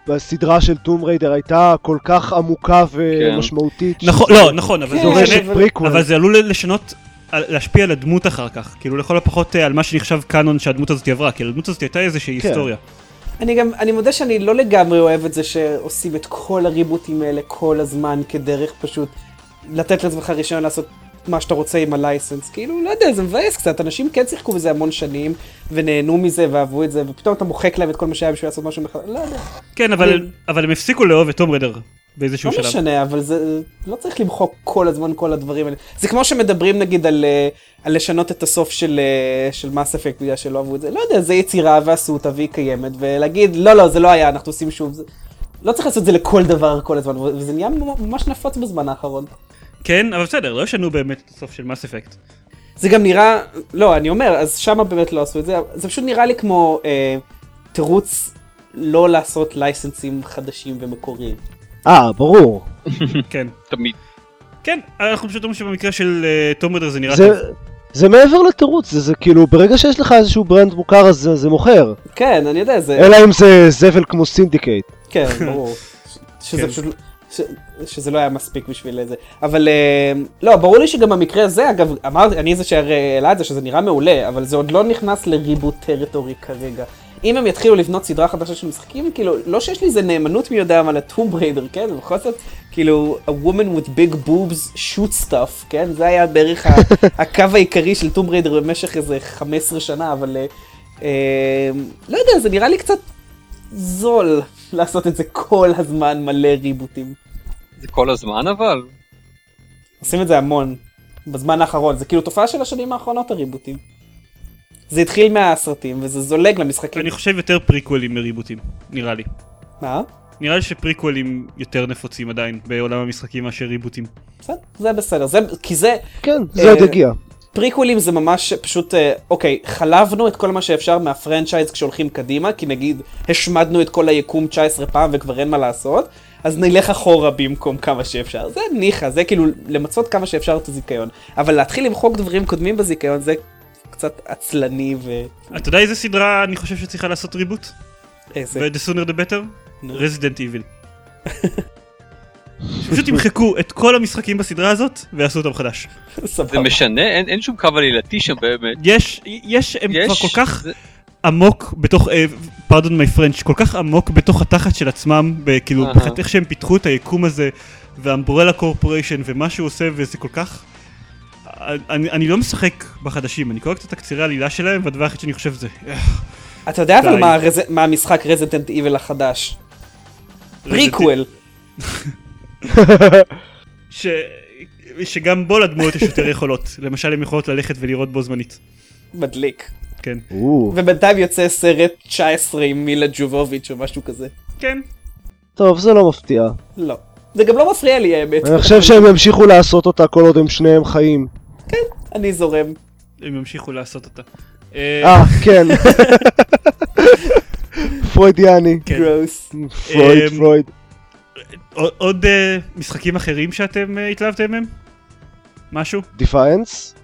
[SPEAKER 4] אה, הסדרה של טום ריידר הייתה כל כך עמוקה ומשמעותית.
[SPEAKER 1] נכון, לא, נכון, אבל
[SPEAKER 3] כן,
[SPEAKER 1] זה
[SPEAKER 3] אבל-
[SPEAKER 4] דורשת
[SPEAKER 1] משנה,
[SPEAKER 3] אבל-
[SPEAKER 4] פריקוול.
[SPEAKER 1] אבל זה עלול לשנות, על- להשפיע על הדמות אחר כך. כאילו לכל הפחות אה, על מה שנחשב קאנון שהדמות הזאת עברה, כי לדמות הזאת הייתה איזושהי
[SPEAKER 4] כן.
[SPEAKER 1] היסטוריה.
[SPEAKER 3] אני גם, אני מודה שאני לא לגמרי אוהב את זה שעושים את כל הריבוטים האלה כל הזמן כדרך פשוט לתת לעצמך רישיון לעשות מה שאתה רוצה עם הלייסנס. כאילו, לא יודע, זה מבאס קצת, אנשים כן שיחקו בזה המון שנים, ונהנו מזה ואהבו את זה, ופתאום אתה מוחק להם את כל מה שהיה בשביל לעשות משהו מחדש, לא יודע,
[SPEAKER 1] כן,
[SPEAKER 3] אני-
[SPEAKER 1] אבל, אבל הם הפסיקו לאהוב את טום רדר באיזשהו
[SPEAKER 3] לא
[SPEAKER 1] שלב.
[SPEAKER 3] משנה, אבל זה, לא צריך למחוק כל הזמן כל הדברים האלה. זה כמו שמדברים נגיד על, אה, על לשנות את הסוף של, אה, של מס אפקט בגלל שלא אהבו את זה, לא יודע, זה יצירה ועשו אותה והיא קיימת, ולהגיד, לא, לא, זה לא היה, אנחנו עושים שוב. זה... לא צריך לעשות את זה לכל דבר כל הזמן, ו- וזה נהיה ממש נפוץ בזמן האחרון.
[SPEAKER 1] כן, אבל בסדר, לא ישנו באמת את הסוף של מס אפקט.
[SPEAKER 3] זה גם נראה, לא, אני אומר, אז שמה באמת לא עשו את זה, אבל זה פשוט נראה לי כמו אה, תירוץ לא לעשות לייסנסים חדשים ומקוריים.
[SPEAKER 4] אה, ברור.
[SPEAKER 1] כן.
[SPEAKER 5] תמיד.
[SPEAKER 1] כן, אנחנו פשוט אומרים שבמקרה של אה, טום רדר זה נראה
[SPEAKER 4] זה-
[SPEAKER 1] טוב.
[SPEAKER 4] זה מעבר לתירוץ, זה- זה כאילו, ברגע שיש לך איזשהו ברנד מוכר אז זה- זה מוכר.
[SPEAKER 3] כן, אני יודע, זה...
[SPEAKER 4] אלא אם זה זבל כמו סינדיקייט.
[SPEAKER 3] כן, ברור. ש- שזה
[SPEAKER 1] כן.
[SPEAKER 3] פשוט... ש- שזה לא היה מספיק בשביל זה. אבל אה, לא, ברור לי שגם במקרה הזה, אגב, אמרתי, אני זה שהעלה את זה, שזה נראה מעולה, אבל זה עוד לא נכנס לריבוט טריטורי כרגע. אם הם יתחילו לבנות סדרה חדשה של משחקים, כאילו, לא שיש לי איזה נאמנות מי יודע מה לטום בריידר, כן? זה בכל זאת, כאילו, a woman with big boobs shoot stuff, כן? זה היה בערך ה- הקו העיקרי של טום בריידר במשך איזה 15 שנה, אבל... אה, אה, לא יודע, זה נראה לי קצת זול לעשות את זה כל הזמן מלא ריבוטים.
[SPEAKER 5] זה כל הזמן אבל.
[SPEAKER 3] עושים את זה המון, בזמן האחרון. זה כאילו תופעה של השנים האחרונות הריבוטים. זה התחיל מהסרטים, וזה זולג למשחקים.
[SPEAKER 1] אני חושב יותר פריקוולים מריבוטים, נראה לי.
[SPEAKER 3] מה?
[SPEAKER 1] נראה לי שפריקוולים יותר נפוצים עדיין בעולם המשחקים מאשר ריבוטים.
[SPEAKER 3] בסדר, זה בסדר, זה, כי זה,
[SPEAKER 4] כן, זה עוד
[SPEAKER 3] אה,
[SPEAKER 4] יגיע.
[SPEAKER 3] פריקוולים זה ממש פשוט, אה, אוקיי, חלבנו את כל מה שאפשר מהפרנצ'ייז כשהולכים קדימה, כי נגיד השמדנו את כל היקום 19 פעם וכבר אין מה לעשות, אז נלך אחורה במקום כמה שאפשר. זה ניחא, זה כאילו למצות כמה שאפשר את הזיכיון. אבל להתחיל למחוק דברים קודמים בזיכיון זה קצת עצלני ו...
[SPEAKER 1] אתה יודע איזה סדרה אני חושב שצריכה לעשות ריבוט?
[SPEAKER 3] איזה...
[SPEAKER 1] ו-The sooner the better?
[SPEAKER 3] נו.
[SPEAKER 1] Resident Evil. פשוט ימחקו את כל המשחקים בסדרה הזאת ויעשו אותם חדש.
[SPEAKER 5] זה
[SPEAKER 3] סבבה.
[SPEAKER 5] משנה, אין, אין שום קו עלילתי שם באמת.
[SPEAKER 1] יש, יש, הם כבר
[SPEAKER 5] יש,
[SPEAKER 1] כל כך
[SPEAKER 5] זה-
[SPEAKER 1] עמוק בתוך, אה, פרדון מי פרנץ', כל כך עמוק בתוך התחת של עצמם, כאילו,
[SPEAKER 5] אהה.
[SPEAKER 1] מבחינת איך שהם פיתחו את היקום הזה, והאמברלה קורפוריישן, ומה שהוא עושה, וזה כל כך... אני, אני לא משחק בחדשים, אני קורא קצת תקצירי עלילה שלהם, והדבר היחיד שאני חושב זה... "אה,
[SPEAKER 3] אתה יודע אבל
[SPEAKER 1] די.
[SPEAKER 3] מה הרז- מה המשחק רזידנט איבל החדש? פריקוול.
[SPEAKER 1] ש... שגם בו לדמויות יש יותר יכולות. למשל, הן יכולות ללכת ולראות בו זמנית.
[SPEAKER 3] מדליק.
[SPEAKER 1] כן.
[SPEAKER 4] או.
[SPEAKER 3] ובינתיים יוצא סרט 19 עם מילה ג'ובוביץ' או משהו כזה.
[SPEAKER 1] כן.
[SPEAKER 4] טוב, זה לא מפתיע.
[SPEAKER 3] לא. זה גם לא מפריע לי האמת.
[SPEAKER 4] אני חושב שהם ימשיכו לעשות אותה כל עוד הם שניהם חיים.
[SPEAKER 3] אני זורם.
[SPEAKER 1] הם ימשיכו לעשות אותה. אה,
[SPEAKER 4] אה, כן. פרוידיאני.
[SPEAKER 1] כן.
[SPEAKER 3] גרוס.
[SPEAKER 4] פרויד,
[SPEAKER 1] אמ,
[SPEAKER 4] פרויד.
[SPEAKER 1] עוד- עוד אה, משחקים אחרים שאתם אה, התלהבתם מהם? משהו?
[SPEAKER 4] דיפיינס?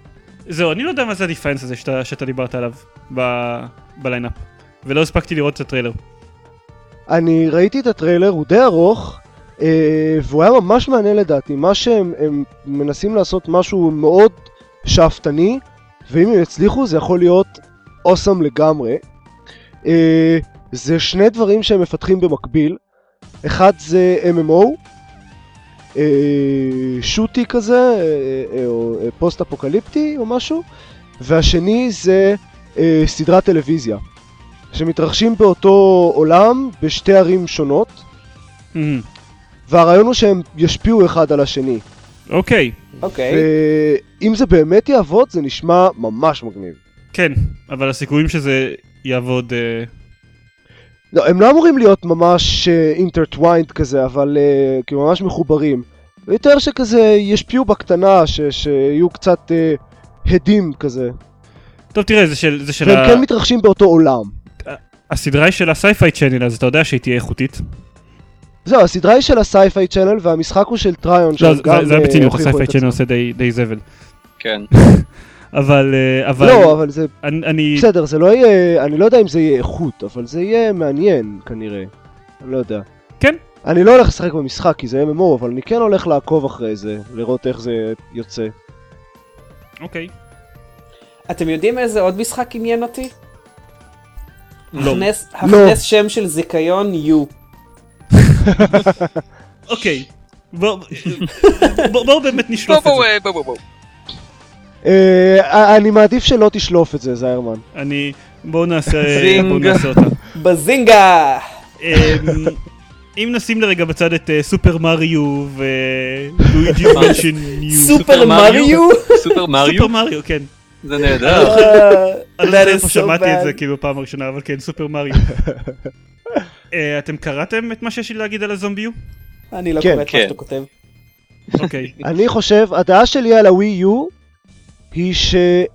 [SPEAKER 1] זהו, אני לא יודע מה זה הדיפיינס הזה שאתה, שאתה דיברת עליו ב... בליינאפ. ולא הספקתי לראות את הטריילר.
[SPEAKER 4] אני ראיתי את הטריילר, הוא די ארוך, אה, והוא היה ממש מעניין לדעתי. מה שהם הם מנסים לעשות משהו מאוד שאפתני, ואם הם יצליחו זה יכול להיות אוסם לגמרי. אה, זה שני דברים שהם מפתחים במקביל. אחד זה MMO, אה, שוטי כזה, אה, אה, או אה, פוסט אפוקליפטי או משהו, והשני זה אה, סדרת טלוויזיה. שמתרחשים באותו עולם בשתי ערים שונות,
[SPEAKER 1] אמ,
[SPEAKER 4] והרעיון הוא שהם ישפיעו אחד על השני.
[SPEAKER 1] אוקיי,
[SPEAKER 3] אוקיי.
[SPEAKER 4] ואם זה באמת יעבוד, זה נשמע ממש מגניב.
[SPEAKER 1] כן, אבל הסיכויים שזה יעבוד... אה,
[SPEAKER 4] לא, הם לא אמורים להיות ממש אינטרטוויינד כזה, אבל אה, כאילו ממש מחוברים. יותר שכזה ישפיעו בקטנה, ש- שיהיו קצת אה, הדים כזה.
[SPEAKER 1] טוב, תראה, זה של... זה של
[SPEAKER 4] והם
[SPEAKER 1] ה...
[SPEAKER 4] כן מתרחשים באותו עולם.
[SPEAKER 1] הסדרה היא של הסייפיי צ'אנל, אז אתה יודע שהיא תהיה איכותית.
[SPEAKER 4] זהו, הסדרה היא של הסייפיי צ'אנל, והמשחק הוא של טריון,
[SPEAKER 1] לא,
[SPEAKER 4] שהם
[SPEAKER 1] זה-
[SPEAKER 4] גם,
[SPEAKER 1] זה
[SPEAKER 4] אה,
[SPEAKER 1] היה בציניות,
[SPEAKER 4] הוכיחו את
[SPEAKER 1] הסייפיי צ'אנל
[SPEAKER 4] עצמם.
[SPEAKER 1] עושה די- די זבל.
[SPEAKER 5] כן.
[SPEAKER 1] אבל... אה, אבל...
[SPEAKER 4] לא, אבל זה
[SPEAKER 1] אני- אני...
[SPEAKER 4] בסדר, זה לא יהיה, אני לא יודע אם זה יהיה איכות, אבל זה יהיה מעניין כנראה. אני לא יודע.
[SPEAKER 1] כן.
[SPEAKER 4] אני לא הולך לשחק במשחק כי זה MMO, אבל אני כן הולך לעקוב אחרי זה, לראות איך זה יוצא.
[SPEAKER 1] אוקיי.
[SPEAKER 3] אתם יודעים איזה עוד משחק עניין אותי?
[SPEAKER 1] לא.
[SPEAKER 3] הכנס-
[SPEAKER 4] לא.
[SPEAKER 3] הכנס שם של זיכיון יו.
[SPEAKER 1] אוקיי. בואו בוא, בוא באמת
[SPEAKER 5] בוא
[SPEAKER 1] נשלוף את
[SPEAKER 5] בוא
[SPEAKER 1] זה.
[SPEAKER 5] בוא בוא בוא.
[SPEAKER 4] אה, אני מעדיף שלא תשלוף את זה, זיירמן.
[SPEAKER 1] אני... בואו נעשה...
[SPEAKER 5] זינג.
[SPEAKER 1] בואו נעשה אותה.
[SPEAKER 3] בזינגה!
[SPEAKER 1] אמ, אם נשים לרגע בצד את אה, סופר מריו ולואיג'י מנשן ניו.
[SPEAKER 3] סופר מריו?
[SPEAKER 5] סופר מריו?
[SPEAKER 1] סופר מריו, כן.
[SPEAKER 5] זה נהדר.
[SPEAKER 1] אני לא
[SPEAKER 3] That
[SPEAKER 1] יודע
[SPEAKER 3] is
[SPEAKER 1] איפה
[SPEAKER 3] so
[SPEAKER 1] שמעתי את זה
[SPEAKER 3] bad.
[SPEAKER 1] כאילו בפעם הראשונה, אבל כן, סופר מריו. אה, אתם קראתם את מה שיש לי להגיד על הזומביו?
[SPEAKER 3] אני לא
[SPEAKER 4] כן,
[SPEAKER 3] קורא את מה
[SPEAKER 5] כן.
[SPEAKER 3] שאתה כותב.
[SPEAKER 1] אוקיי.
[SPEAKER 4] אני חושב, הדעה שלי על הווי יו היא שאין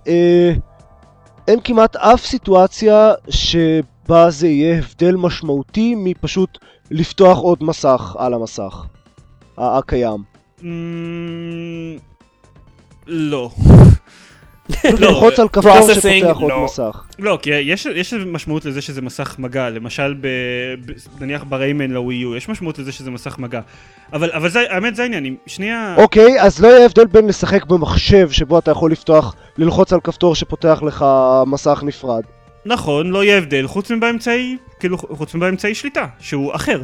[SPEAKER 4] כמעט אף סיטואציה שבה זה יהיה הבדל משמעותי מפשוט לפתוח עוד מסך על המסך ה- הקיים.
[SPEAKER 1] אמ, לא.
[SPEAKER 4] ללחוץ על כפתור
[SPEAKER 3] לא, processing,
[SPEAKER 4] שפותח עוד
[SPEAKER 3] לא.
[SPEAKER 4] מסך.
[SPEAKER 1] לא, כי יש, יש משמעות לזה שזה מסך מגע, למשל ב, ב, נניח בריימן לווי יו, יש משמעות לזה שזה מסך מגע. אבל, אבל זה, האמת זה העניין, אם שנייה...
[SPEAKER 4] אוקיי, אז לא יהיה הבדל בין לשחק במחשב שבו אתה יכול לפתוח, ללחוץ על כפתור שפותח לך מסך נפרד.
[SPEAKER 1] נכון, לא יהיה הבדל, חוץ מבאמצעי, כאילו, חוץ מבאמצעי שליטה, שהוא אחר.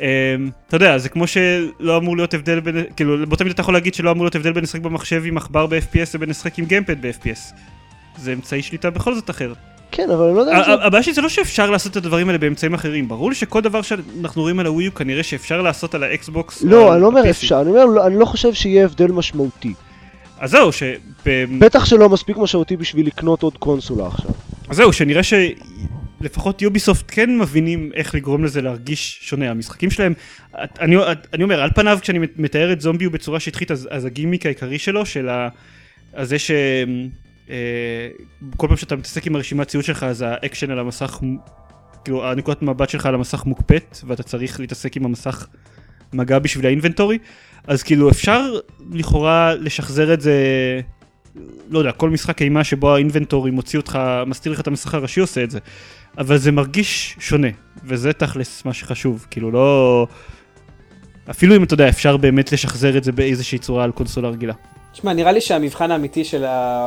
[SPEAKER 1] אמ, אתה יודע, זה כמו שלא אמור להיות הבדל בין, כאילו, באותה מידה אתה יכול להגיד שלא אמור להיות הבדל בין לשחק במחשב עם עכבר ב-FPS לבין לשחק עם גיימפד ב-FPS. זה אמצעי שליטה בכל זאת אחר.
[SPEAKER 4] כן, אבל אני לא
[SPEAKER 3] אה,
[SPEAKER 4] יודע אם זה...
[SPEAKER 1] ה- ה- הבעיה שלי זה לא שאפשר לעשות את הדברים האלה באמצעים אחרים, ברור לי שכל דבר שאנחנו רואים על הווי-יו כנראה שאפשר לעשות על האקסבוקס. או
[SPEAKER 3] אה,
[SPEAKER 4] לא,
[SPEAKER 1] על
[SPEAKER 4] אני לא אומר
[SPEAKER 1] ה-PC.
[SPEAKER 4] אפשר, אני אומר, לא- אני לא חושב שיהיה הבדל משמעותי.
[SPEAKER 1] אז זהו, שבאמת...
[SPEAKER 4] בטח שלא מספיק משמעותי בשביל לקנות עוד קונסולה עכשיו.
[SPEAKER 1] אז זהו, שנראה שלפחות יוביסופט כן מבינים איך לגרום לזה להרגיש שונה. המשחקים שלהם, את- אני, את- אני אומר, על פניו כשאני מתאר את זומביו בצורה שטחית, אז, אז הגימיק העיקרי שלו, של ה... אז זה ש... אה, כל פעם שאתה מתעסק עם הרשימת ציוד שלך, אז האקשן על המסך, מ- כאילו, הנקודת מבט שלך על המסך מוקפאת, ואתה צריך להתעסק עם המסך מגע בשביל האינבנטורי, אז כאילו אפשר לכאורה לשחזר את זה לא יודע, כל משחק אימה שבו האינבנטורי מוציא אותך, מסתיר לך את המסך הראשי עושה את זה. אבל זה מרגיש שונה, וזה תכלס מה שחשוב, כאילו לא... אפילו אם אתה יודע, אפשר באמת לשחזר את זה באיזושהי צורה על קונסולה רגילה.
[SPEAKER 3] תשמע, נראה לי שהמבחן האמיתי של ה...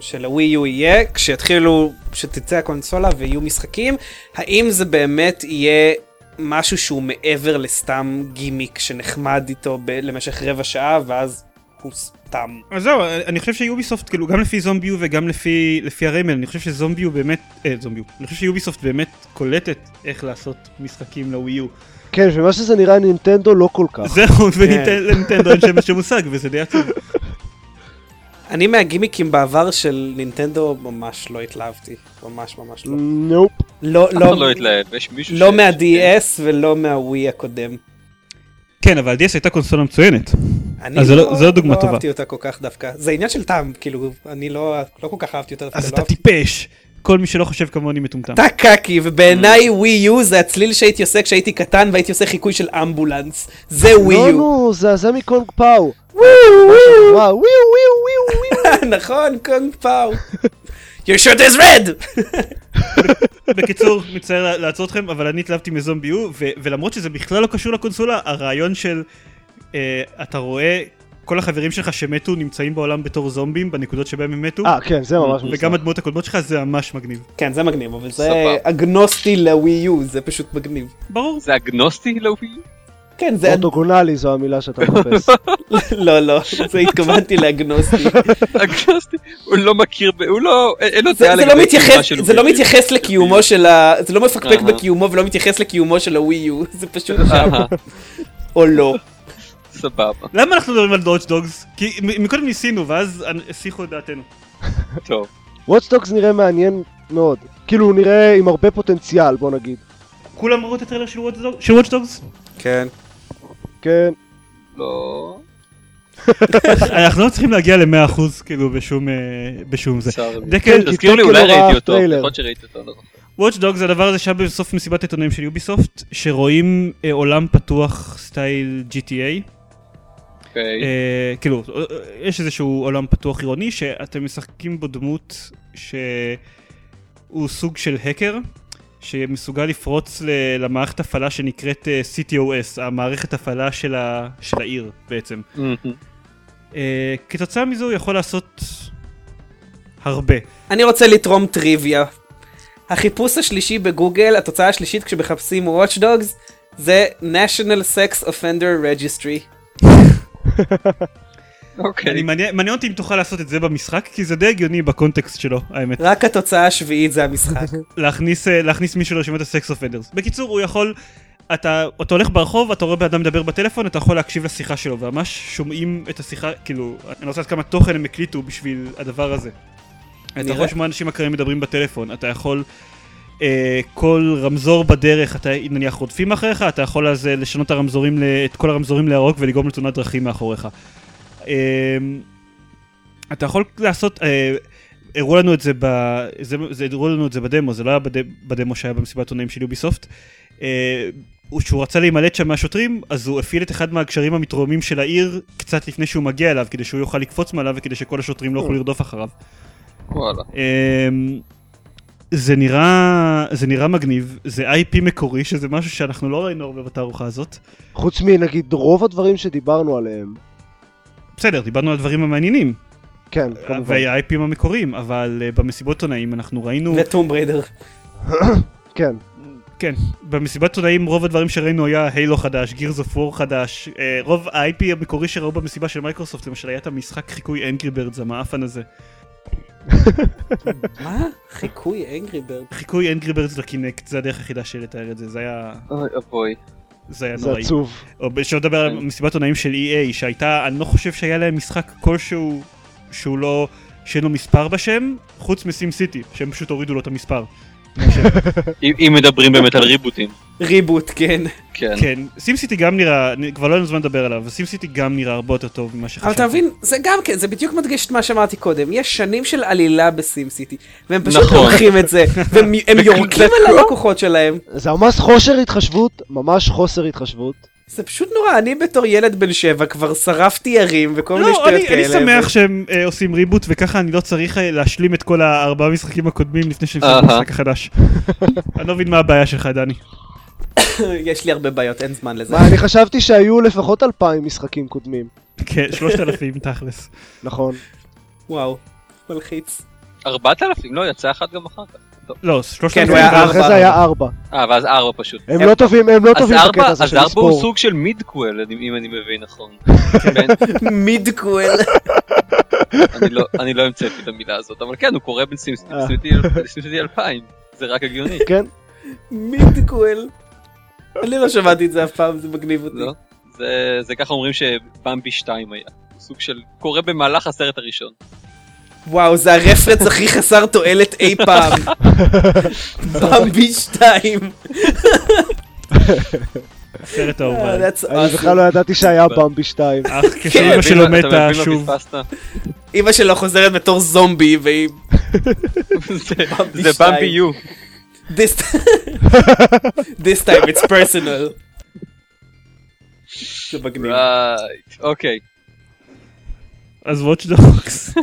[SPEAKER 3] של הווי יו יהיה כשיתחילו, כשתצא הקונסולה ויהיו משחקים, האם זה באמת יהיה משהו שהוא מעבר לסתם גימיק שנחמד איתו ב... למשך רבע שעה ואז הוא סתם.
[SPEAKER 1] אז זהו, אני חושב שיוביסופט, כאילו, גם לפי זומביו וגם לפי, לפי הריימן, אני חושב שזומביו באמת, אה, זומביו, אני חושב שיוביסופט באמת קולטת איך לעשות משחקים לווי יו. כן.
[SPEAKER 4] כן, ומה שזה נראה נינטנדו לא כל כך.
[SPEAKER 1] זהו, ולנינטנדו אין שם שום מושג, וזה די עצוב.
[SPEAKER 3] אני מהגימיקים בעבר של נינטנדו ממש לא התלהבתי, ממש ממש לא.
[SPEAKER 4] נופ.
[SPEAKER 3] לא,
[SPEAKER 5] אף אחד
[SPEAKER 3] לא,
[SPEAKER 5] לא התלהב, יש מישהו
[SPEAKER 3] לא מה-DS ולא מהווי הקודם.
[SPEAKER 1] כן, אבל DS הייתה קונסולה מצוינת.
[SPEAKER 3] אני
[SPEAKER 1] אז זה לא- זו דוגמה
[SPEAKER 3] לא
[SPEAKER 1] טובה.
[SPEAKER 3] אהבתי אותה כל כך דווקא. זה עניין של טעם, כאילו, אני לא, לא כל כך אהבתי אותה. דווקא,
[SPEAKER 1] אז
[SPEAKER 3] לא
[SPEAKER 1] אתה
[SPEAKER 3] אהבתי.
[SPEAKER 1] טיפש. כל מי שלא חושב כמוני מטומטם.
[SPEAKER 3] אתה קקי, ובעיניי ווי יו זה הצליל שהייתי עושה כשהייתי קטן והייתי עושה חיקוי של אמבולנס. זה ווי
[SPEAKER 4] לא
[SPEAKER 3] יו.
[SPEAKER 4] נו, זה הזה מקונג פאו.
[SPEAKER 3] וואו, וואו.
[SPEAKER 4] וואו, וואו, וואו, וואו.
[SPEAKER 3] נכון, קונג פאו. Your shirt is red!
[SPEAKER 1] בקיצור, מצטער לה- לעצור אתכם, אבל אני התלהבתי מזומבי U, ו- ולמרות שזה בכלל לא קשור לקונסולה, הרעיון של אה, אתה רואה כל החברים שלך שמתו נמצאים בעולם בתור זומבים בנקודות שבהם הם מתו,
[SPEAKER 4] אה, כן, זה ממש מוזר.
[SPEAKER 1] וגם הדמות הקודמות שלך זה ממש מגניב.
[SPEAKER 3] כן, זה מגניב, אבל זה
[SPEAKER 5] סבבה.
[SPEAKER 3] אגנוסטי לווי יו, זה פשוט מגניב.
[SPEAKER 1] ברור.
[SPEAKER 5] זה אגנוסטי לאופי?
[SPEAKER 3] כן, זה...
[SPEAKER 4] אורטוגונלי זו המילה שאתה מחפש.
[SPEAKER 3] לא, לא, זה התכוונתי לאגנוסטי.
[SPEAKER 5] אגנוסטי? הוא לא מכיר, ב- הוא לא, אין- אין לו
[SPEAKER 3] זה
[SPEAKER 5] דעה
[SPEAKER 3] זה לא
[SPEAKER 5] לגבי
[SPEAKER 3] מתייחס-
[SPEAKER 5] קיומה של אוקיי.
[SPEAKER 3] זה לא
[SPEAKER 5] אופי.
[SPEAKER 3] מתייחס לקיומו של ה... זה לא מפקפק
[SPEAKER 5] אהה.
[SPEAKER 3] בקיומו ולא מתייחס לקיומו של הווי יו, זה פשוט שם,
[SPEAKER 5] אהה,
[SPEAKER 3] או לא.
[SPEAKER 5] סבבה,
[SPEAKER 1] למה אנחנו מדברים על דודג' דוגס? כי מ- מקודם ניסינו, ואז אנ- הסיחו את דעתנו.
[SPEAKER 5] טוב.
[SPEAKER 4] וואטסטוקס נראה מעניין מאוד. כאילו, הוא נראה עם הרבה פוטנציאל, בוא נגיד.
[SPEAKER 1] כולם ראו את הטריילר של וואץ' דוגס?
[SPEAKER 3] כן.
[SPEAKER 4] כן.
[SPEAKER 5] לא,
[SPEAKER 1] אנחנו לא צריכים להגיע ל-100% כאילו בשום, אה, בשום זה.
[SPEAKER 5] צר לי.
[SPEAKER 1] דקל,
[SPEAKER 4] כי
[SPEAKER 5] תזכיר לי,
[SPEAKER 4] טקל
[SPEAKER 5] אולי
[SPEAKER 4] לא ראה
[SPEAKER 5] ראיתי אותו,
[SPEAKER 4] טריילר.
[SPEAKER 5] יכול להיות שראיתי אותו, לא.
[SPEAKER 1] Watch Dogs זה הדבר הזה שהיה בסוף מסיבת עיתונאים של יוביסופט, שרואים אה, עולם פתוח סטייל GTA.
[SPEAKER 5] אוקיי.
[SPEAKER 1] אה, כאילו, אה, אה, יש איזשהו עולם פתוח עירוני שאתם משחקים בו דמות שהוא סוג של האקר, שמסוגל לפרוץ ל- למערכת הפעלה שנקראת אה, CTOS, המערכת הפעלה של, ה, של העיר בעצם.
[SPEAKER 5] מהמם.
[SPEAKER 1] אה, כתוצאה מזה הוא יכול לעשות הרבה.
[SPEAKER 3] אני רוצה לתרום טריוויה. החיפוש השלישי בגוגל, התוצאה השלישית כשמחפשים Watch Dogs, זה national sex offender registry.
[SPEAKER 1] אני
[SPEAKER 5] אוקיי.
[SPEAKER 1] מעניין מעניין אותי אם תוכל לעשות את זה במשחק, כי זה די הגיוני בקונטקסט שלו, האמת.
[SPEAKER 3] רק התוצאה השביעית זה המשחק.
[SPEAKER 1] להכניס, אה, להכניס מישהו לרשימת הסקס אופנדרס. בקיצור, הוא יכול, אתה, אתה הולך ברחוב, אתה רואה בן אדם מדבר בטלפון, אתה יכול להקשיב לשיחה שלו, וממש שומעים את השיחה, כאילו, אני לא רוצה לדעת כמה תוכן הם הקליטו בשביל הדבר הזה. אתה
[SPEAKER 3] נראה.
[SPEAKER 1] רואה שמה אנשים אקרים מדברים בטלפון, אתה יכול... אה, כל רמזור בדרך, אתה נניח רודפים אחריך, אתה יכול אז אה, לשנות את הרמזורים, ל- את כל הרמזורים לירוק ולגרום לתאונת דרכים מאחוריך. אה, אתה יכול לעשות, אה, הראו לנו את זה, ב, זה, זה הראו לנו את זה בדמו, זה לא היה בד, בדמו שהיה במסיבת עונאים של יוביסופט. אה, הוא- כשהוא רצה להימלט שם מהשוטרים, אז הוא הפעיל את אחד מהגשרים המתרוממים של העיר קצת לפני שהוא מגיע אליו, כדי שהוא יוכל לקפוץ מעליו וכדי שכל השוטרים לא יוכלו לרדוף אחריו.
[SPEAKER 5] וואלה.
[SPEAKER 1] אמ, זה נראה, זה נראה מגניב, זה IP מקורי, שזה משהו שאנחנו לא ראינו הרבה בתערוכה הזאת.
[SPEAKER 4] חוץ מנגיד רוב הדברים שדיברנו עליהם.
[SPEAKER 1] בסדר, דיברנו על הדברים המעניינים.
[SPEAKER 4] כן,
[SPEAKER 5] אה,
[SPEAKER 4] כמובן.
[SPEAKER 1] וה-IPים המקוריים, אבל אה, במסיבות עונאים אנחנו ראינו...
[SPEAKER 3] וטום בריידר.
[SPEAKER 4] כן.
[SPEAKER 1] כן, במסיבת עונאים רוב הדברים שראינו היה הילו חדש, גירס אוף וור חדש, אה, רוב ה-IP המקורי שראו במסיבה של מייקרוסופט למשל היה את המשחק חיקוי אנגרי ברדס המאפן הזה.
[SPEAKER 3] מה? חיקוי אנגרי ברד.
[SPEAKER 1] חיקוי אנגרי ברדס לקינקט, זה הדרך היחידה שלי לתאר את זה, זה היה,
[SPEAKER 5] אוי אבוי.
[SPEAKER 1] זה היה
[SPEAKER 4] זה
[SPEAKER 1] נוראי.
[SPEAKER 4] עצוב.
[SPEAKER 1] או שלא לדבר על
[SPEAKER 5] כן.
[SPEAKER 1] מסיבת עונאים של EA, שהייתה, אני לא חושב שהיה להם משחק כלשהו שהוא לא, שאין לו מספר בשם, חוץ מסים סיטי, שהם פשוט הורידו לו את המספר.
[SPEAKER 5] אם אם מדברים באמת על ריבוטים.
[SPEAKER 3] ריבוט, כן.
[SPEAKER 5] כן.
[SPEAKER 1] כן, סים סיטי גם נראה, כבר לא היה לנו זמן לדבר עליו, סים סיטי גם נראה הרבה יותר טוב ממה
[SPEAKER 3] אבל
[SPEAKER 1] שחשבתי.
[SPEAKER 3] אתה מבין, זה גם כן, זה בדיוק מדגיש את מה שאמרתי קודם. יש שנים של עלילה בסים סיטי, והם פשוט
[SPEAKER 5] נכון.
[SPEAKER 3] עורכים את זה, והם הם יורקים
[SPEAKER 1] לא-
[SPEAKER 3] על הלקוחות שלהם.
[SPEAKER 4] זה ממש חוסר התחשבות, ממש חוסר התחשבות.
[SPEAKER 3] זה פשוט נורא, אני בתור ילד בן שבע כבר שרפתי ערים וכל מיני
[SPEAKER 1] לא,
[SPEAKER 3] שטויות
[SPEAKER 1] אני,
[SPEAKER 3] כאלה.
[SPEAKER 1] אני שמח
[SPEAKER 3] ו-
[SPEAKER 1] שהם אה, עושים ריבוט וככה אני לא צריך אה, להשלים את כל הארבעה משחקים הקודמים לפני שהם עושים את
[SPEAKER 5] אהה.
[SPEAKER 1] המשחק החדש. אני לא מבין מה הבעיה שלך דני.
[SPEAKER 3] יש לי הרבה בעיות, אין זמן לזה.
[SPEAKER 4] מה, אני חשבתי שהיו לפחות אלפיים משחקים קודמים.
[SPEAKER 1] כן, 3,000 תכלס.
[SPEAKER 4] נכון.
[SPEAKER 5] כן,
[SPEAKER 3] וואו, מלחיץ.
[SPEAKER 5] 4,000? לא, יצא אחת גם אחר כך.
[SPEAKER 1] לא,
[SPEAKER 3] כן,
[SPEAKER 1] 3,000.
[SPEAKER 3] הוא היה
[SPEAKER 4] אחרי זה
[SPEAKER 3] ארבע.
[SPEAKER 4] היה ארבע.
[SPEAKER 5] אה, ואז 4 פשוט.
[SPEAKER 4] הם לא טובים, הם לא
[SPEAKER 5] אז
[SPEAKER 4] טובים
[SPEAKER 5] ארבע-
[SPEAKER 4] בקטע הזה
[SPEAKER 5] אז
[SPEAKER 4] של
[SPEAKER 5] 4 הוא
[SPEAKER 4] לספור.
[SPEAKER 5] סוג של מידקוול, אם אני מבין נכון. כן,
[SPEAKER 3] מידקוול.
[SPEAKER 5] אני לא- אני לא המצאתי את המילה הזאת, אבל כן, הוא קורא בין סימס-
[SPEAKER 4] אה.
[SPEAKER 5] סימסיטי לסימסיטי 2000. זה רק הגיוני,
[SPEAKER 4] כן,
[SPEAKER 3] מידקוול. אני לא שמעתי את זה אף פעם, זה מגניב אותי.
[SPEAKER 5] לא? זה- זה ככה אומרים שבמבי 2 היה. הוא סוג של קורא במהלך הסרט הראשון.
[SPEAKER 3] וואו, זה הרפרנס הכי חסר תועלת אי פעם. במבי 2.
[SPEAKER 1] הסרט האהוב
[SPEAKER 3] אה,
[SPEAKER 1] עליי.
[SPEAKER 4] אני בכלל לא ידעתי שהיה במבי 2.
[SPEAKER 3] כן,
[SPEAKER 1] אך כשאימא
[SPEAKER 5] אתה
[SPEAKER 1] אה, כן, שלו
[SPEAKER 5] מבין מה- אתה
[SPEAKER 1] מתה
[SPEAKER 5] מבין מה
[SPEAKER 1] שוב.
[SPEAKER 5] פספסת?
[SPEAKER 3] אימא שלו חוזרת בתור זומבי והיא...
[SPEAKER 5] זה-
[SPEAKER 3] במבי
[SPEAKER 5] זה
[SPEAKER 3] שתיים.
[SPEAKER 5] במבי יו.
[SPEAKER 3] This This time it's personal. זה מגניב.
[SPEAKER 5] Right, אוקיי.
[SPEAKER 1] אז Watch Dogs.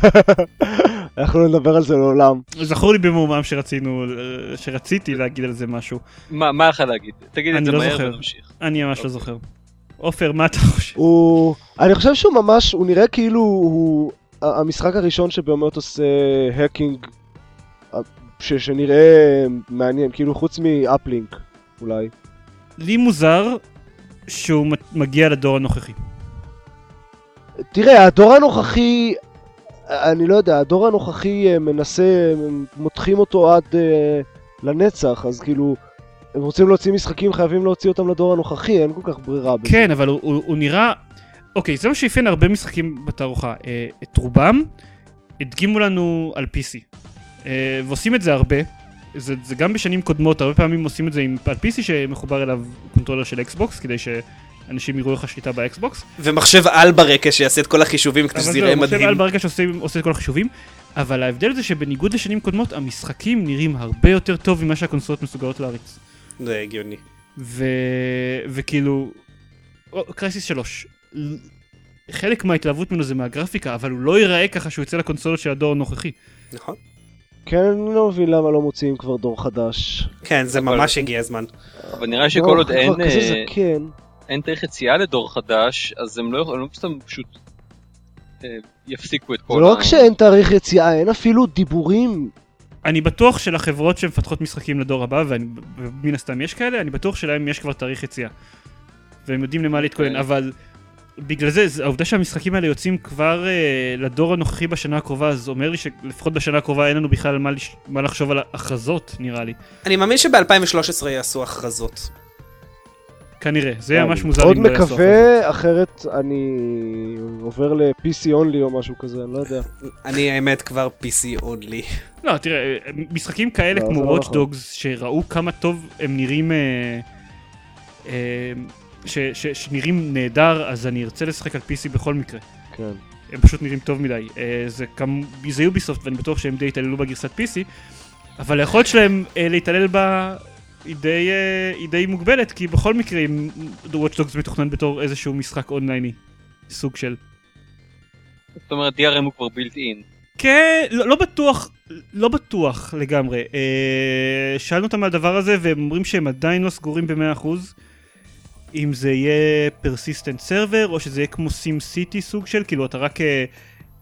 [SPEAKER 4] אנחנו לא נדבר על זה לעולם.
[SPEAKER 1] זכור לי במומם שרצינו, אה, שרציתי להגיד על זה משהו.
[SPEAKER 5] מה מה לך להגיד? תגיד את
[SPEAKER 1] אני
[SPEAKER 5] זה
[SPEAKER 1] לא
[SPEAKER 5] מהר
[SPEAKER 1] זוכר.
[SPEAKER 5] ונמשיך.
[SPEAKER 1] אני
[SPEAKER 3] אוקיי.
[SPEAKER 1] ממש לא זוכר. עופר, מה אתה חושב?
[SPEAKER 4] הוא... אני חושב שהוא ממש, הוא נראה כאילו הוא... ה- המשחק הראשון שבאמת עושה האקינג, אה, ש- שנראה מעניין, כאילו חוץ מאפלינק אולי.
[SPEAKER 1] לי מוזר שהוא מ- מגיע לדור הנוכחי.
[SPEAKER 4] תראה, הדור הנוכחי, אני לא יודע, הדור הנוכחי אה, מנסה, הם מותחים אותו עד אה, לנצח, אז כאילו, הם רוצים להוציא משחקים, חייבים להוציא אותם לדור הנוכחי, אין כל כך ברירה בזה.
[SPEAKER 1] כן, אבל הוא- הוא הוא נראה... אוקיי, זה מה שאפיין הרבה משחקים בתערוכה. אה, את רובם הדגימו לנו על PC. אה, ועושים את זה הרבה. זה, זה גם בשנים קודמות, הרבה פעמים עושים את זה עם, על PC שמחובר אליו קונטרולר של אקסבוקס, כדי שאנשים יראו איך השליטה באקסבוקס.
[SPEAKER 3] ומחשב על ברקע שיעשה את כל החישובים כדי שזה יראה
[SPEAKER 1] אבל זהו, מחשב על
[SPEAKER 3] מדהים.
[SPEAKER 1] ברגע שעושה את כל החישובים, אבל ההבדל זה שבניגוד לשנים קודמות, המשחקים נראים הרבה יותר טוב ממה שהקונסולות מסוגלות להריץ.
[SPEAKER 3] זה הגיוני.
[SPEAKER 1] ו... וכאילו... או, קרייסיס 3. ל- חלק מההתלהבות ממנו זה מהגרפיקה, אבל הוא לא ייראה ככה שהוא יוצא לקונסולות של הדור הנוכחי.
[SPEAKER 3] נכון.
[SPEAKER 4] כן, אני לא מבין למה לא מוציאים כבר דור חדש.
[SPEAKER 3] כן, זה
[SPEAKER 5] אבל-
[SPEAKER 3] ממש הגיע הזמן.
[SPEAKER 5] אבל נראה שכל עוד
[SPEAKER 4] דור
[SPEAKER 5] אין...
[SPEAKER 4] כבר לא, כזה
[SPEAKER 5] אה,
[SPEAKER 4] זקן.
[SPEAKER 5] אין דרך יציאה לדור חדש, אז הם לא יכולים, לא סתם פשוט אה, יפסיקו את כל
[SPEAKER 4] זה לא רק שאין תאריך יציאה, אין אפילו דיבורים.
[SPEAKER 1] אני בטוח שלחברות שמפתחות משחקים לדור הבא, ומן הסתם יש כאלה, אני בטוח שלהם יש כבר תאריך יציאה. והם יודעים למה להתכונן,
[SPEAKER 5] כן.
[SPEAKER 1] אבל בגלל זה, זה- העובדה שהמשחקים האלה יוצאים כבר אה, לדור הנוכחי בשנה הקרובה, אז אומר לי שלפחות בשנה הקרובה אין לנו בכלל מה, לש... מה לחשוב על הכרזות, נראה לי.
[SPEAKER 3] אני מאמין שב-2013 יעשו הכרזות.
[SPEAKER 1] כנראה, זה יהיה
[SPEAKER 4] אני
[SPEAKER 1] ממש מוזר
[SPEAKER 4] אה, מאוד
[SPEAKER 1] אם לא יעשו הכרזות.
[SPEAKER 4] מקווה, אחרת אני עובר ל-PC only או משהו כזה, אני לא יודע.
[SPEAKER 3] אני האמת כבר PC אונלי.
[SPEAKER 1] לא, תראה, אה, משחקים כאלה
[SPEAKER 4] לא, זה
[SPEAKER 1] כמו
[SPEAKER 4] לא
[SPEAKER 1] Watch
[SPEAKER 4] נכון.
[SPEAKER 1] Dogs, שראו כמה טוב הם נראים... אה, אה, ש, ש, שנראים נהדר, אז אני ארצה לשחק על PC בכל מקרה.
[SPEAKER 4] כן.
[SPEAKER 1] הם פשוט נראים טוב מדי. אה, זה, כמ... זה יוביסופט ואני בטוח שהם די התעללו בגרסת PC, אבל היכולת שלהם אה, להתעלל בה היא די, אה, היא די מוגבלת, כי בכל מקרה אם The Watch Dogs מתוכנן בתור איזשהו משחק אונלייני, סוג של...
[SPEAKER 5] זאת אומרת, DRM הוא כבר בילט אין.
[SPEAKER 1] כן, לא, לא בטוח, לא בטוח לגמרי. אה, שאלנו אותם על הדבר הזה והם אומרים שהם עדיין לא סגורים ב-100%. אם זה יהיה פרסיסטנט סרבר או שזה יהיה כמו סים סיטי סוג של, כאילו אתה רק אה,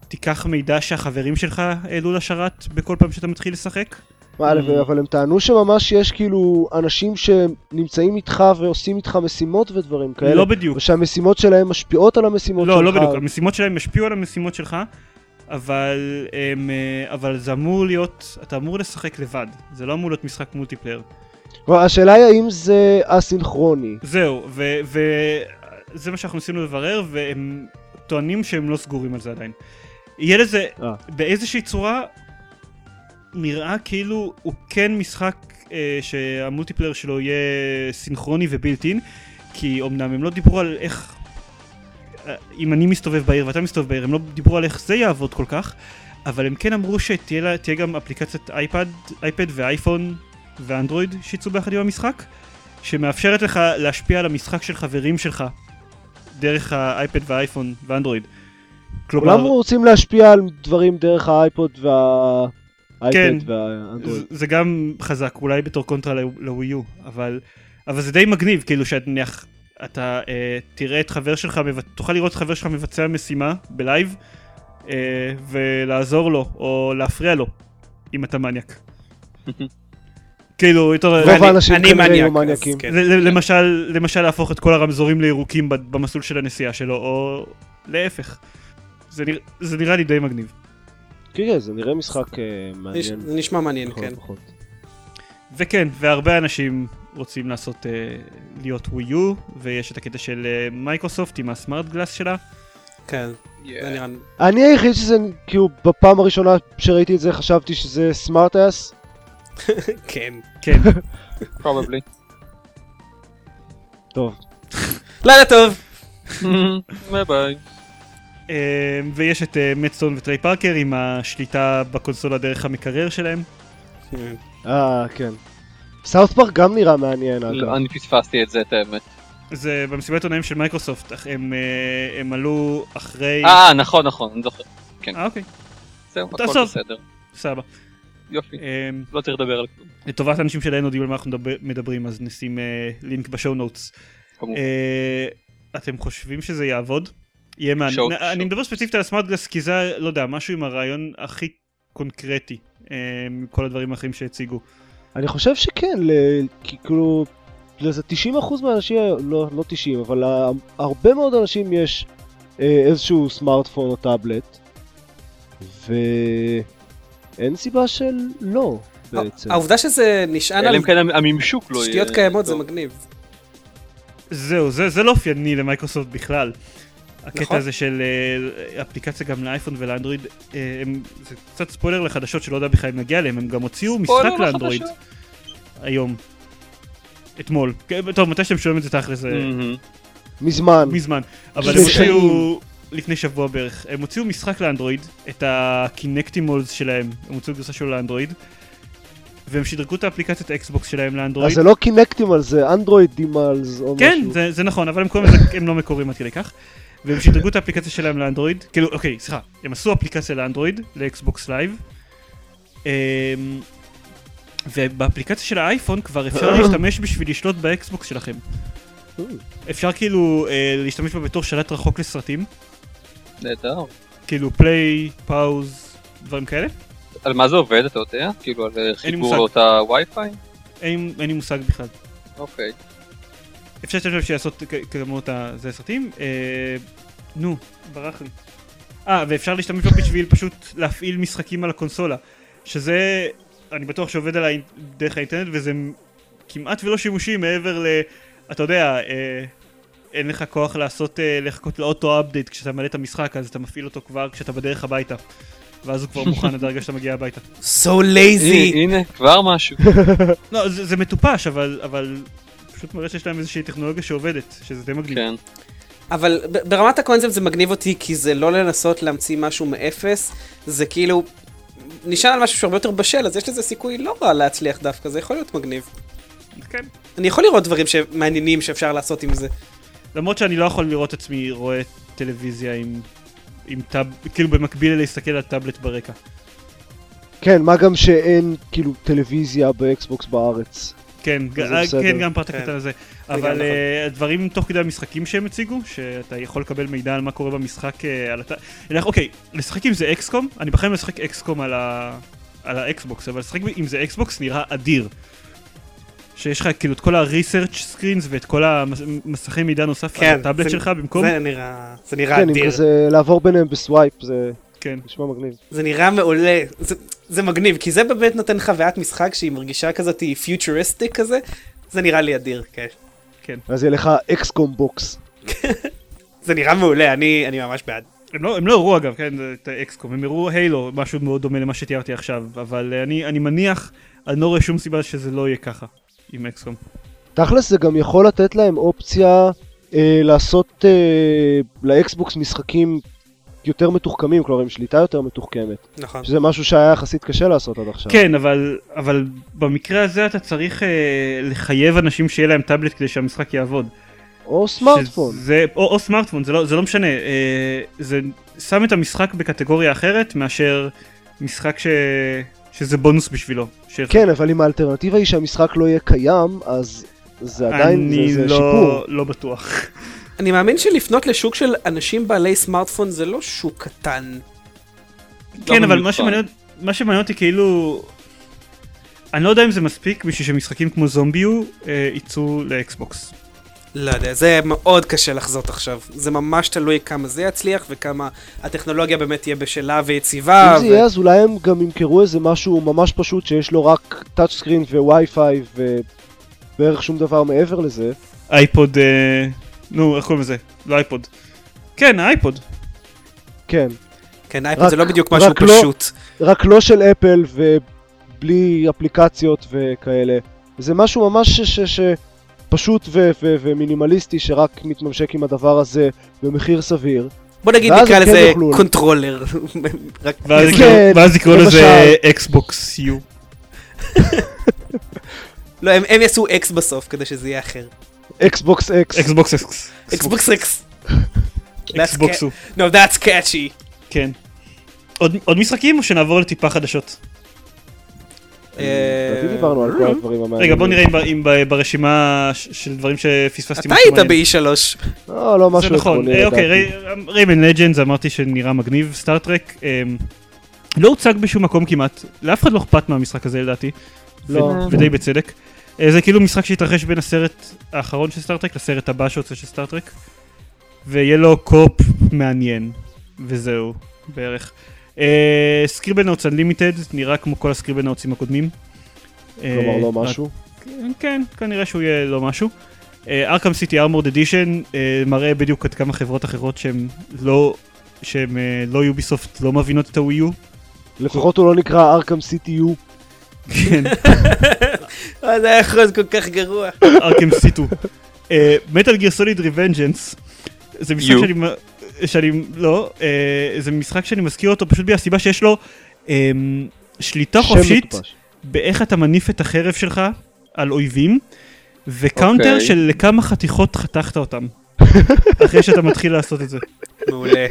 [SPEAKER 1] תיקח מידע שהחברים שלך העלו לשרת בכל פעם שאתה מתחיל לשחק.
[SPEAKER 4] מה,
[SPEAKER 1] Mm.
[SPEAKER 4] אבל הם טענו שממש יש כאילו אנשים שנמצאים איתך ועושים איתך משימות ודברים כאלה.
[SPEAKER 1] לא בדיוק.
[SPEAKER 4] ושהמשימות שלהם משפיעות על המשימות
[SPEAKER 1] לא,
[SPEAKER 4] שלך.
[SPEAKER 1] לא בדיוק, המשימות שלהם ישפיעו על המשימות שלך, אבל, הם, אה, אבל זה אמור להיות, אתה אמור לשחק לבד, זה לא אמור להיות משחק מולטיפלייר.
[SPEAKER 4] כלומר, השאלה היא האם זה אסינכרוני.
[SPEAKER 1] זהו, וזה מה שאנחנו ניסינו לברר, והם טוענים שהם לא סגורים על זה עדיין. יהיה לזה,
[SPEAKER 4] אה.
[SPEAKER 1] באיזושהי צורה, נראה כאילו הוא כן משחק אה, שהמולטיפלייר שלו יהיה סינכרוני ובילטין, כי אמנם הם לא דיברו על איך... אה, אם אני מסתובב בעיר ואתה מסתובב בעיר, הם לא דיברו על איך זה יעבוד כל כך, אבל הם כן אמרו שתהיה לה- תהיה גם אפליקציית אייפד, אייפד ואייפון ואנדרואיד שיצאו ביחד עם המשחק, שמאפשרת לך להשפיע על המשחק של חברים שלך דרך האייפד והאייפון ואנדרואיד. כלומר,
[SPEAKER 4] כולם רוצים להשפיע על דברים דרך האייפוד וה...
[SPEAKER 1] כן.
[SPEAKER 4] האייפד והאנדרואיד.
[SPEAKER 1] זה- זה גם חזק, אולי בתור קונטרה לוו- לווי יו, אבל, אבל זה די מגניב, כאילו שאת נניח, אתה אה, תראה את חבר שלך, מבצ- תוכל לראות את חבר שלך מבצע משימה בלייב, אה, ולעזור לו, או להפריע לו, אם אתה מניאק. כאילו, יותר...
[SPEAKER 4] רוב
[SPEAKER 3] אני-
[SPEAKER 4] האנשים
[SPEAKER 3] אני
[SPEAKER 4] כנראה
[SPEAKER 3] מניאק,
[SPEAKER 4] יהיו
[SPEAKER 3] אז
[SPEAKER 4] מניאקים.
[SPEAKER 3] כן.
[SPEAKER 1] ל- ל- למשל, למשל להפוך את כל הרמזורים לירוקים ב- במסלול של הנסיעה שלו, או להפך. זה, נרא... זה נראה לי די מגניב.
[SPEAKER 4] כן, כן, זה נראה משחק אה, מעניין. נכון,
[SPEAKER 3] זה נשמע מעניין,
[SPEAKER 4] לכל
[SPEAKER 3] כן.
[SPEAKER 4] הפחות.
[SPEAKER 1] וכן, והרבה אנשים רוצים לעשות, אה, להיות ווי יו, ויש את הקטע של אה, מייקרוסופט עם הסמארט גלאס שלה.
[SPEAKER 3] כן,
[SPEAKER 5] Yeah.
[SPEAKER 3] זה נראה...
[SPEAKER 4] אני היחיד שזה, כאילו, בפעם הראשונה שראיתי את זה חשבתי שזה סמארט אס.
[SPEAKER 3] כן.
[SPEAKER 1] כן,
[SPEAKER 5] probably.
[SPEAKER 4] טוב.
[SPEAKER 3] לילה טוב!
[SPEAKER 5] ביי ביי.
[SPEAKER 1] אה, ויש את אה, מדסטון וטריי פארקר עם השליטה בקונסולה דרך המקרר שלהם.
[SPEAKER 4] אה, כן. סאוט פארק גם נראה מעניין, אגב.
[SPEAKER 5] לא, אני פספסתי את זה, את האמת.
[SPEAKER 1] אוקיי. זה במסיבת עונאים של מייקרוסופט, אך הם, אה, הם עלו אחרי...
[SPEAKER 5] אה, נכון, נכון, אני זוכר.
[SPEAKER 1] אה, אוקיי,
[SPEAKER 5] זהו, הכל
[SPEAKER 1] תעזוב.
[SPEAKER 5] בסדר.
[SPEAKER 1] סבבה.
[SPEAKER 5] יופי,
[SPEAKER 1] אה,
[SPEAKER 5] לא צריך לדבר על כלום.
[SPEAKER 1] לטובת האנשים שלהם יודעים על מה אנחנו מדבר, מדברים, אז נשים אה, לינק בשואו נוטס.
[SPEAKER 5] כמובן.
[SPEAKER 1] אה, אתם חושבים שזה יעבוד? יהיה מעניין.
[SPEAKER 5] שואו,
[SPEAKER 1] אני
[SPEAKER 5] שואו.
[SPEAKER 1] מדבר ספציפית על הסמארטגלס כי זה, לא יודע, משהו עם הרעיון הכי קונקרטי אה, מכל הדברים האחרים שהציגו.
[SPEAKER 4] אני חושב שכן, ל... כי כאילו, לזה 90% מהאנשים, לא, לא 90, אבל ה- הרבה מאוד אנשים יש אה, איזשהו סמארטפון או טאבלט, ואין סיבה של לא, בעצם.
[SPEAKER 3] אה, העובדה שזה נשען
[SPEAKER 5] אלא
[SPEAKER 3] על
[SPEAKER 5] אם כן הממשוק לא יהיה...
[SPEAKER 3] תשתיות קיימות זה
[SPEAKER 5] טוב.
[SPEAKER 3] מגניב.
[SPEAKER 1] זהו, זה, זה לא אופייני למייקרוסופט בכלל. הקטע
[SPEAKER 3] נכון.
[SPEAKER 1] הזה של אה, אפליקציה גם לאייפון ולאנדרואיד, אה, הם, זה קצת ספוילר לחדשות שלא יודע בכלל אם נגיע אליהם, הם גם הוציאו משחק
[SPEAKER 5] ספוילר
[SPEAKER 1] לאנדרואיד
[SPEAKER 5] לחדשות.
[SPEAKER 1] היום. אתמול. כן, טוב, מתי שאתם שומעים את זה תכל'ס, אה, זה...
[SPEAKER 5] מהמם.
[SPEAKER 4] מזמן.
[SPEAKER 1] מזמן. אבל הם
[SPEAKER 4] לפני
[SPEAKER 1] הוציאו
[SPEAKER 4] כאילו שנים.
[SPEAKER 1] לפני שבוע בערך, הם הוציאו משחק לאנדרואיד, את הקינקטימולס שלהם, הם הוציאו גרסה שלו לאנדרואיד, והם שדרגו את האפליקציית אקסבוקס שלהם
[SPEAKER 4] אז
[SPEAKER 1] לאנדרואיד.
[SPEAKER 4] זה לא קינקטים על זה, אנדרואידים על זה, או
[SPEAKER 1] כן,
[SPEAKER 4] משהו.
[SPEAKER 1] זה, זה נכון, אבל הם קוראים לזה, הם לא מקוריים עד כדי כך. והם שדרגו את האפליקציה שלהם לאנדרואיד, כאילו, אוקיי, סליחה, הם עשו אפליקציה לאנדרואיד, לאקסבוקס לייב, אמ, ובאפליקציה של האייפון כבר אפשר להשתמש בשביל לשלוט באקסבוקס שלכם. אפשר כאילו אה, להשתמש בה בתור שלט רחוק לסרטים,
[SPEAKER 5] נהדר.
[SPEAKER 1] כאילו פליי, פאוז, דברים כאלה.
[SPEAKER 5] על מה זה עובד, אתה יודע? כאילו על אה, חיבור
[SPEAKER 1] מושג.
[SPEAKER 5] לאותה וי-פיי?
[SPEAKER 1] אין, אין לי מושג בכלל.
[SPEAKER 5] אוקיי.
[SPEAKER 1] אפשר להשתמש שיעשות כמות זה סרטים. אה, נו, ברח לי. אה, ואפשר להשתמש בו בשביל פשוט להפעיל משחקים על הקונסולה. שזה, אני בטוח שעובד על האינ- דרך האינטרנט וזה כמעט ולא שימושי מעבר ל... אתה יודע, אה, אין לך כוח לעשות, אה, לחכות לאוטו אפדייט כשאתה מעלה את המשחק, אז אתה מפעיל אותו כבר כשאתה בדרך הביתה. ואז הוא כבר מוכן עד הרגע שאתה מגיע הביתה.
[SPEAKER 3] So lazy!
[SPEAKER 5] הנה, כבר משהו. כן.
[SPEAKER 1] לא, זה, זה מטופש, אבל, אבל פשוט מראה שיש להם איזושהי טכנולוגיה שעובדת, שזה די מגניב.
[SPEAKER 5] כן.
[SPEAKER 3] אבל ב- ברמת הקונספט זה מגניב אותי, כי זה לא לנסות להמציא משהו מאפס, זה כאילו... נשען על משהו שהרבה יותר בשל, אז יש לזה סיכוי לא רע להצליח דווקא, זה יכול להיות מגניב.
[SPEAKER 1] כן.
[SPEAKER 3] אני יכול לראות דברים שמעניינים שאפשר לעשות עם זה.
[SPEAKER 1] למרות שאני לא יכול לראות עצמי רואה טלוויזיה עם... עם טאב, כאילו במקביל להסתכל על טאבלט ברקע.
[SPEAKER 4] כן, מה גם שאין, כאילו, טלוויזיה באקסבוקס בארץ.
[SPEAKER 1] כן,
[SPEAKER 4] זה
[SPEAKER 1] ג- אה,
[SPEAKER 4] בסדר.
[SPEAKER 1] כן, גם פרט
[SPEAKER 3] כן.
[SPEAKER 1] הקטן הזה.
[SPEAKER 3] גם
[SPEAKER 1] אבל
[SPEAKER 3] נכון.
[SPEAKER 1] אה, הדברים תוך כדי המשחקים שהם הציגו, שאתה יכול לקבל מידע על מה קורה במשחק, אה, על הת... אלא, אוקיי, לשחק עם זה אקסקום, אני בחיים לא אשחק אקסקום על ה... על האקסבוקס, אבל לשחק עם זה אקסבוקס נראה אדיר. שיש לך כאילו את כל ה-research screens ואת כל המסכי מידע נוסף על הטאבלט
[SPEAKER 3] כן, זה-
[SPEAKER 1] שלך במקום,
[SPEAKER 3] זה נראה, זה נראה
[SPEAKER 4] כן, עם
[SPEAKER 3] אדיר.
[SPEAKER 4] כזה לעבור ביניהם בסווייפ, זה
[SPEAKER 1] כן.
[SPEAKER 4] נשמע מגניב.
[SPEAKER 3] זה נראה מעולה, זה, זה מגניב, כי זה באמת נותן חוויית משחק שהיא מרגישה כזאת, היא פיוטריסטיק כזה, זה נראה לי אדיר, כן.
[SPEAKER 4] אז יהיה לך אקסקום בוקס.
[SPEAKER 3] זה נראה מעולה, אני, אני ממש בעד.
[SPEAKER 1] הם לא, הם לא הראו אגב, כן, את האקסקום, הם הראו הילו, משהו מאוד דומה למה שתיארתי עכשיו, אבל אה, אני, אני מניח, אני לא רואה שום סיבה שזה לא יהיה ככה עם אקסקום.
[SPEAKER 4] תכלס זה גם יכול לתת להם אופציה אה, לעשות אה, לאקסבוקס משחקים יותר מתוחכמים, כלומר עם שליטה יותר מתוחכמת,
[SPEAKER 3] נכון.
[SPEAKER 4] שזה משהו שהיה יחסית קשה לעשות עד עכשיו.
[SPEAKER 1] כן, אבל, אבל במקרה הזה אתה צריך אה, לחייב אנשים שיהיה להם טאבלט כדי שהמשחק יעבוד.
[SPEAKER 4] או סמארטפון.
[SPEAKER 1] שזה, או, או סמארטפון, זה לא, זה לא משנה, אה, זה שם את המשחק בקטגוריה אחרת מאשר משחק ש, שזה בונוס בשבילו. ש...
[SPEAKER 4] כן, אבל אם האלטרנטיבה היא שהמשחק לא יהיה קיים, אז זה עדיין,
[SPEAKER 1] אני
[SPEAKER 4] זה, זה
[SPEAKER 1] לא,
[SPEAKER 4] שיפור.
[SPEAKER 1] לא בטוח.
[SPEAKER 3] אני מאמין שלפנות לשוק של אנשים בעלי סמארטפון זה לא שוק קטן.
[SPEAKER 1] כן, אבל מה
[SPEAKER 5] במיוחד.
[SPEAKER 1] שמעניין, מה שמעניין אותי כאילו... אני לא יודע אם זה מספיק בשביל שמשחקים כמו זומביו אה, יצאו לאקסבוקס.
[SPEAKER 3] לא יודע, זה מאוד קשה לחזות עכשיו. זה ממש תלוי כמה זה יצליח וכמה הטכנולוגיה באמת תהיה בשלה ויציבה.
[SPEAKER 1] אה,
[SPEAKER 4] אם זה יהיה, אז אולי הם גם ימכרו איזה משהו ממש פשוט שיש לו רק טאצ' סקרין ווי-פיי ובערך שום דבר מעבר לזה.
[SPEAKER 1] אייפוד, אה, נו, איך קוראים לזה? לא אייפוד. כן, האייפוד.
[SPEAKER 4] כן.
[SPEAKER 3] כן, אייפוד זה
[SPEAKER 4] רק-
[SPEAKER 3] לא בדיוק
[SPEAKER 4] רק
[SPEAKER 3] משהו
[SPEAKER 4] לא-
[SPEAKER 3] פשוט.
[SPEAKER 4] רק לא של אפל ובלי אפליקציות וכאלה. זה משהו ממש ש- ש- ש- פשוט ו- ו- ומינימליסטי שרק מתממשק עם הדבר הזה במחיר סביר.
[SPEAKER 3] בוא נגיד
[SPEAKER 4] ואז
[SPEAKER 3] נקרא
[SPEAKER 4] הם כן
[SPEAKER 3] לזה
[SPEAKER 4] יוכלו.
[SPEAKER 3] קונטרולר. רק-
[SPEAKER 1] ואז
[SPEAKER 4] כן,
[SPEAKER 1] יקראו- ואז יקראו לזה
[SPEAKER 4] למשל.
[SPEAKER 1] אקסבוקס יו.
[SPEAKER 3] לא, הם הם יעשו אקס בסוף כדי שזה יהיה אחר.
[SPEAKER 4] אקסבוקס אקס.
[SPEAKER 1] אקסבוקס אקס.
[SPEAKER 3] אקסבוקס אקס.
[SPEAKER 1] אקסבוקס הוא.
[SPEAKER 3] No, that's catchy.
[SPEAKER 1] כן. עוד- עוד משחקים או שנעבור לטיפה חדשות?
[SPEAKER 3] אה,
[SPEAKER 4] לדעתי דיברנו על כל הדברים המעניינים.
[SPEAKER 1] אה, רגע, בוא נראה אם ב- אם ב- ברשימה ש- של דברים שפספסתי.
[SPEAKER 3] אתה
[SPEAKER 1] משהו
[SPEAKER 3] היית
[SPEAKER 1] מעניין.
[SPEAKER 3] ב-E3.
[SPEAKER 4] לא, לא משהו
[SPEAKER 1] זה נכון,
[SPEAKER 4] עקרוני
[SPEAKER 1] אה, אוקיי,
[SPEAKER 4] לדעתי.
[SPEAKER 1] רי- ריימן לג'נדס אמרתי שנראה מגניב, סטארטרק לא הוצג בשום מקום כמעט, לאף אחד לא אכפת מהמשחק הזה לדעתי, ו-
[SPEAKER 4] לא.
[SPEAKER 1] ודי בצדק. אה, זה כאילו משחק שהתרחש בין הסרט האחרון של סטארטרק לסרט הבא שיוצא של סטארטרק, ויהיה לו קופ מעניין, וזהו, בערך. סקריבנאוטס אנלימיטד נראה כמו כל הסקריבנאוטסים הקודמים.
[SPEAKER 4] כלומר
[SPEAKER 1] אה,
[SPEAKER 4] לא
[SPEAKER 1] רק
[SPEAKER 4] משהו.
[SPEAKER 1] כן, כן, כנראה שהוא יהיה לא משהו. אה, ארכם סיטי ארמורד אדישן אה, מראה בדיוק עד כמה חברות אחרות שהן לא, שהן אה, לא יוביסופט לא מבינות את הווי יו.
[SPEAKER 4] לפחות הוא לא נקרא ארכם CTU.
[SPEAKER 1] כן,
[SPEAKER 3] אה, זה היה יכול להיות כל כך גרוע.
[SPEAKER 1] ארכם סיטו. מטאל גיר סוליד ריבנג'נס. זה משחק
[SPEAKER 5] You.
[SPEAKER 1] שאני, מ- שאני, לא, אה, זה משחק שאני מזכיר אותו פשוט מהסיבה שיש לו אה, שליטה
[SPEAKER 4] שם
[SPEAKER 1] חופשית
[SPEAKER 4] מטופש.
[SPEAKER 1] באיך אתה מניף את החרב שלך על אויבים, וקאונטר
[SPEAKER 5] אוקיי.
[SPEAKER 1] של לכמה חתיכות חתכת אותם. אחרי שאתה מתחיל לעשות את זה.
[SPEAKER 3] מעולה.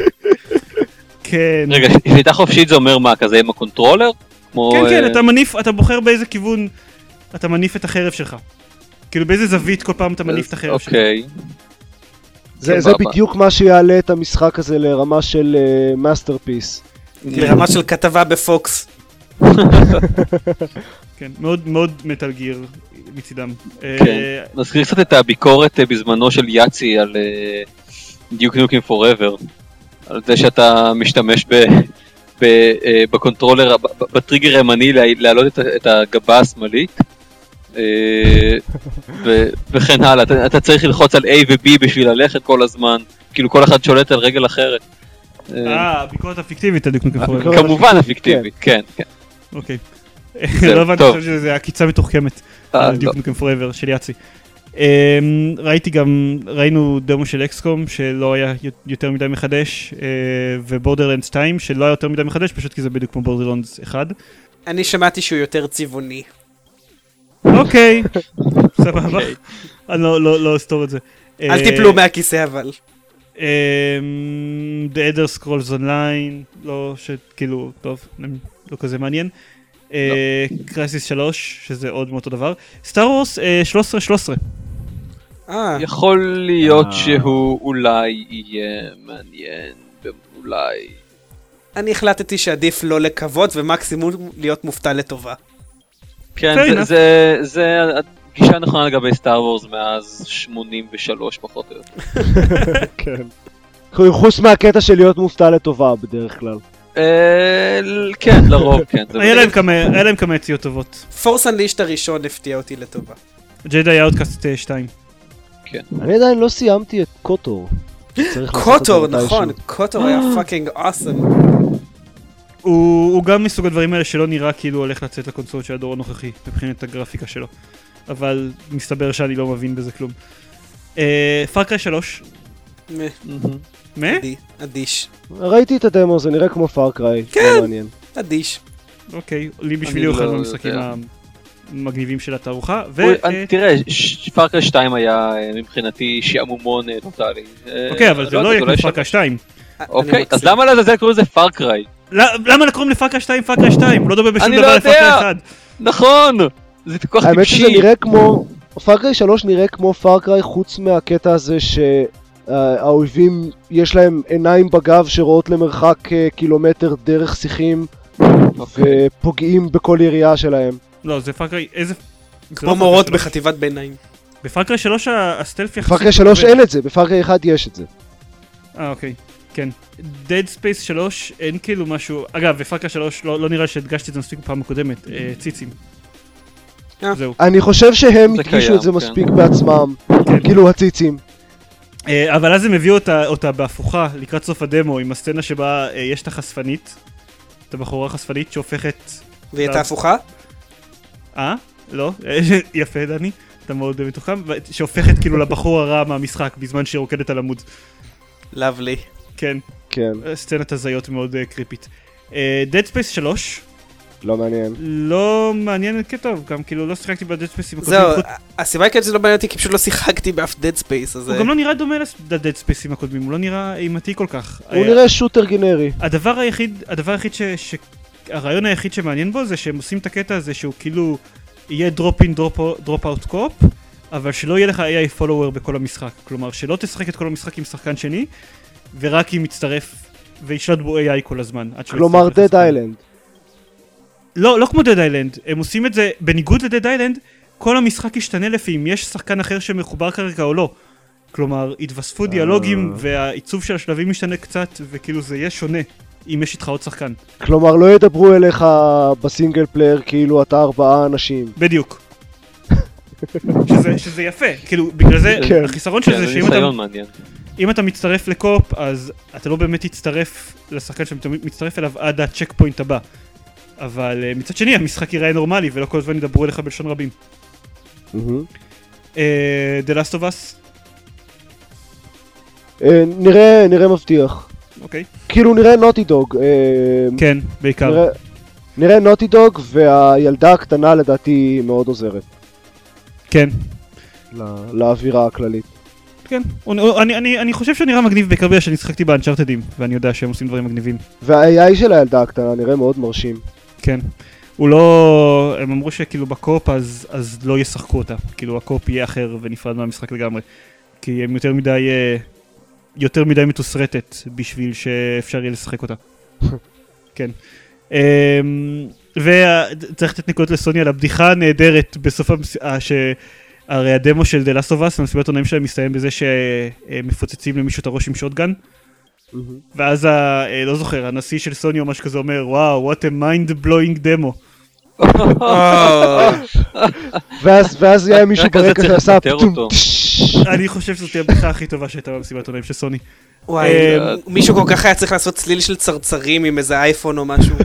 [SPEAKER 1] כן.
[SPEAKER 5] רגע, שליטה חופשית זה אומר מה, כזה עם הקונטרולר? כמו,
[SPEAKER 1] כן, כן,
[SPEAKER 5] אה,
[SPEAKER 1] אתה מניף, אתה בוחר באיזה כיוון אתה מניף את החרב שלך. כאילו באיזה זווית כל פעם אתה מניף את החרב שלך.
[SPEAKER 5] אוקיי.
[SPEAKER 4] זה
[SPEAKER 3] כן,
[SPEAKER 4] זה
[SPEAKER 5] סבבה.
[SPEAKER 4] בדיוק מה שיעלה את המשחק הזה לרמה של אה, מאסטרפיס.
[SPEAKER 3] לרמה של כתבה בפוקס.
[SPEAKER 1] כן, מאוד מאוד מטאל גיר מצידם. אה,
[SPEAKER 5] כן. נזכיר קצת את הביקורת אה, בזמנו של יאצי על אה, דיוק נוקים פוראבר. על זה שאתה משתמש ב... ב- אה, בקונטרולר, ב- ב- בטריגר הימני לה- להעלות את ה- את הגבה השמאלית אה, ו- וכן הלאה. אתה- אתה צריך ללחוץ על A ו-B בשביל ללכת כל הזמן, כאילו כל אחד שולט על רגל אחרת. אה,
[SPEAKER 1] אה, הביקורת הפיקטיבית, הדוק נוקם פוראבר.
[SPEAKER 4] הביקורת-
[SPEAKER 5] כמובן הפיקטיבית, כן, כן.
[SPEAKER 1] אוקיי.
[SPEAKER 5] זהו,
[SPEAKER 1] לא הבנתי
[SPEAKER 5] טוב.
[SPEAKER 1] עכשיו שזה עקיצה מתוחכמת.
[SPEAKER 5] אה,
[SPEAKER 1] על
[SPEAKER 5] לא.
[SPEAKER 1] דיוק נוקם פוראבר של יאצי. אמ, ראיתי גם, ראינו דמו של אקסקום שלא היה י- יותר מדי מחדש, אה, ובורדרלנדס 2 שלא היה יותר מדי מחדש, פשוט כי זה בדיוק כמו בורדרלנדס 1.
[SPEAKER 3] אני שמעתי שהוא יותר צבעוני.
[SPEAKER 4] אה.
[SPEAKER 1] אוקיי, סבבה.
[SPEAKER 5] אוקיי.
[SPEAKER 1] אני לא- לא לא אסתור את זה.
[SPEAKER 3] אל תיפלו מהכיסא אבל.
[SPEAKER 1] אמ, כאילו, The Elder Scrolls Online, לא שכאילו, טוב, לא כזה מעניין. קרייסיס 3, שזה עוד מאותו דבר. סטאר וורס 13-13.
[SPEAKER 3] אה,
[SPEAKER 5] יכול להיות
[SPEAKER 6] אה.
[SPEAKER 5] שהוא אולי יהיה מעניין, אולי...
[SPEAKER 3] אני החלטתי שעדיף לא לקוות ומקסימום להיות מופתע לטובה.
[SPEAKER 5] כן,
[SPEAKER 1] Fair
[SPEAKER 5] זה,
[SPEAKER 1] enough.
[SPEAKER 5] זה, זה הגישה הנכונה לגבי סטאר וורס מאז 83 פחות או יותר.
[SPEAKER 4] כן. חוץ מהקטע של להיות מופתע לטובה בדרך כלל.
[SPEAKER 5] אה, ל- כן, לרוב כן. זה
[SPEAKER 1] היה להם כמה- היה להם כמה יציאות טובות.
[SPEAKER 3] פורס אנלישט הראשון הפתיע אותי לטובה.
[SPEAKER 1] ג'די אאוטקאסט 2.
[SPEAKER 4] אני עדיין לא סיימתי את קוטור. צריך לעשות את זה
[SPEAKER 3] קוטור,
[SPEAKER 4] מתישהו.
[SPEAKER 3] נכון, קוטור היה
[SPEAKER 5] אה.
[SPEAKER 3] פאקינג אוסם.
[SPEAKER 1] הוא הוא גם מסוג הדברים האלה שלא נראה כאילו הוא הולך לצאת לקונסולות של הדור הנוכחי, מבחינת הגרפיקה שלו. אבל מסתבר שאני לא מבין בזה כלום. אה, פארקריי 3.
[SPEAKER 4] אה?
[SPEAKER 3] מ,
[SPEAKER 5] מהמם.
[SPEAKER 1] מה?
[SPEAKER 3] אדי- אדיש.
[SPEAKER 4] ראיתי את הדמו, זה נראה כמו פארקריי.
[SPEAKER 3] כן.
[SPEAKER 4] לא מעניין.
[SPEAKER 3] אדיש. אה,
[SPEAKER 1] אוקיי, לי בשבילי הוא
[SPEAKER 5] לא
[SPEAKER 1] אחד מהמשחקים
[SPEAKER 5] יודע.
[SPEAKER 1] המגניבים של התערוכה. ו-
[SPEAKER 5] הוא-
[SPEAKER 1] אה,
[SPEAKER 5] אני- תראה, פארקר 2 היה אה, מבחינתי שעמומון אה, טוטאלי. אה,
[SPEAKER 1] אוקיי, אבל זה
[SPEAKER 5] יודע,
[SPEAKER 1] לא יהיה
[SPEAKER 5] אולי
[SPEAKER 1] כמו פארקריי 2.
[SPEAKER 5] אוקיי, אז למה לעזאזל קוראים לזה פארקריי?
[SPEAKER 1] למה קוראים לפארקריי 2 פארקריי 2? הוא לא דומה בשום
[SPEAKER 5] אני
[SPEAKER 1] דבר
[SPEAKER 5] לא יודע.
[SPEAKER 1] לפארקריי 1.
[SPEAKER 5] נכון! זה ויכוח
[SPEAKER 4] האמת שזה
[SPEAKER 5] טיפשי.
[SPEAKER 4] נראה כמו... פארקריי 3 נראה כמו פארקריי חוץ מהקטע הזה שהאויבים יש להם עיניים בגב שרואות למרחק אה, קילומטר דרך שיחים
[SPEAKER 5] אוקיי.
[SPEAKER 4] ופוגעים בכל ירייה שלהם.
[SPEAKER 1] לא, זה פארקריי... איזה... זה לא
[SPEAKER 3] כמו מורות
[SPEAKER 1] פארקריי שלוש.
[SPEAKER 3] בחטיבת ביניים.
[SPEAKER 1] בפארקריי 3 הסטלף יחסית...
[SPEAKER 4] בפארקריי 3
[SPEAKER 1] עובד.
[SPEAKER 4] אין את זה, בפארקריי 1 יש את זה.
[SPEAKER 1] אה, אוקיי, כן. Dead Space 3 אין כאילו משהו... אגב, בפארקריי 3 לא לא נראה שהדגשתי את זה מספיק בפעם הקודמת. אה, ציצים.
[SPEAKER 3] אה.
[SPEAKER 1] זהו.
[SPEAKER 4] אני חושב שהם
[SPEAKER 5] זה
[SPEAKER 4] הדגישו
[SPEAKER 5] קיים,
[SPEAKER 4] את זה
[SPEAKER 5] כן.
[SPEAKER 4] מספיק בעצמם. כאילו הציצים.
[SPEAKER 1] אה, אבל אז הם הביאו אותה, אותה בהפוכה לקראת סוף הדמו עם הסצנה שבה אה, יש את החשפנית, את הבחורה החשפנית שהופכת...
[SPEAKER 3] והיא
[SPEAKER 1] לא.
[SPEAKER 3] הייתה הפוכה?
[SPEAKER 1] אה? לא? יפה דני, אתה מאוד אה, מתוחכם, ו- שהופכת כאילו לבחור הרע מהמשחק בזמן שהיא רוקדת על עמוד.
[SPEAKER 3] לאבלי.
[SPEAKER 1] כן,
[SPEAKER 4] כן,
[SPEAKER 1] אה, סצנת הזיות מאוד אה, קריפית. אה, Dead Space 3
[SPEAKER 4] לא מעניין.
[SPEAKER 1] לא מעניין כטוב, גם כאילו לא שיחקתי ב-Dead Space עם הקודמים,
[SPEAKER 3] זהו,
[SPEAKER 1] חוץ-
[SPEAKER 3] הסיבה העיקרית שזה לא מעניין אותי כי פשוט לא שיחקתי באף דד ספייס, אז...
[SPEAKER 1] הוא גם לא נראה דומה ל-Dead Space עם הקודמים, הוא לא נראה אימתי כל כך.
[SPEAKER 4] הוא
[SPEAKER 1] אה,
[SPEAKER 4] נראה שוטר גנרי.
[SPEAKER 1] הדבר היחיד, הדבר היחיד ש... ש... הרעיון היחיד שמעניין בו זה שהם עושים את הקטע הזה שהוא כאילו יהיה דרופ אין דרופ אאוט קופ אבל שלא יהיה לך AI follower בכל המשחק כלומר שלא תשחק את כל המשחק עם שחקן שני ורק אם יצטרף וישלוט בו AI כל הזמן עד שהוא
[SPEAKER 4] כלומר
[SPEAKER 1] יצטרף
[SPEAKER 4] דד
[SPEAKER 1] לשחקן.
[SPEAKER 4] איילנד.
[SPEAKER 1] לא, לא כמו דד איילנד הם עושים את זה בניגוד לדד איילנד כל המשחק ישתנה לפי אם יש שחקן אחר שמחובר כרגע או לא כלומר התווספו דיאלוגים והעיצוב של השלבים משתנה קצת וכאילו זה יהיה שונה אם יש איתך עוד שחקן
[SPEAKER 4] כלומר לא ידברו אליך בסינגל פלייר כאילו אתה ארבעה אנשים.
[SPEAKER 1] בדיוק. שזה, שזה יפה, כאילו בגלל זה
[SPEAKER 4] כן.
[SPEAKER 1] החיסרון של
[SPEAKER 5] כן,
[SPEAKER 1] זה
[SPEAKER 5] זה
[SPEAKER 1] שאם אתה,
[SPEAKER 5] ניסיון מעניין.
[SPEAKER 1] אם אתה מצטרף לקופ אז אתה לא באמת תצטרף לשחקן שאתה מצטרף אליו עד הצ'ק פוינט הבא. אבל אה, מצד שני המשחק ייראה נורמלי ולא כל הזמן ידברו אליך בלשון רבים.
[SPEAKER 4] מהמם.
[SPEAKER 1] אה, The Last of Us,
[SPEAKER 4] אה, נראה, נראה מבטיח.
[SPEAKER 1] אוקיי.
[SPEAKER 4] כאילו נראה נוטי דוג.
[SPEAKER 1] כן, בעיקר.
[SPEAKER 4] נראה נוטי דוג והילדה הקטנה לדעתי מאוד עוזרת
[SPEAKER 1] כן.
[SPEAKER 4] לא- לאווירה הכללית.
[SPEAKER 1] כן, הוא- הוא- אני- אני אני חושב שהוא נראה מגניב בעיקר בגלל שאני שחקתי באנצ'ארטדים ואני יודע שהם עושים דברים מגניבים.
[SPEAKER 4] וה-AI של הילדה הקטנה נראה מאוד מרשים.
[SPEAKER 1] כן. הוא לא... הם אמרו שכאילו בקופ אז, אז לא ישחקו אותה. כאילו הקופ יהיה אחר ונפרד מהמשחק לגמרי. כי הם יותר מדי... אה, יותר מדי מתוסרטת בשביל שאפשר יהיה לשחק אותה. כן. וצריך לתת נקודות לסוני על הבדיחה הנהדרת בסוף המס... אה, ש... הרי הדמו של The Last of Us, המסיבת עונאים שלהם מסתיים בזה שמפוצצים למישהו את הראש עם שוטגן. ואז, ה... אה, לא זוכר, הנשיא של סוני או משהו כזה אומר, וואו, what a mind blowing demo.
[SPEAKER 4] ואז ואז היה מישהו
[SPEAKER 5] רק על זה
[SPEAKER 4] ברקע
[SPEAKER 5] צריך
[SPEAKER 4] שעשה
[SPEAKER 5] לפטר
[SPEAKER 4] פטום.
[SPEAKER 5] אותו.
[SPEAKER 4] טש.
[SPEAKER 1] אני חושב שזאת תהיה הבדיחה הכי טובה שהייתה במסיבת עונאים של סוני.
[SPEAKER 3] וואי,
[SPEAKER 1] אה,
[SPEAKER 3] מישהו כל כך היה צריך לעשות צליל של צרצרים עם איזה אייפון או משהו.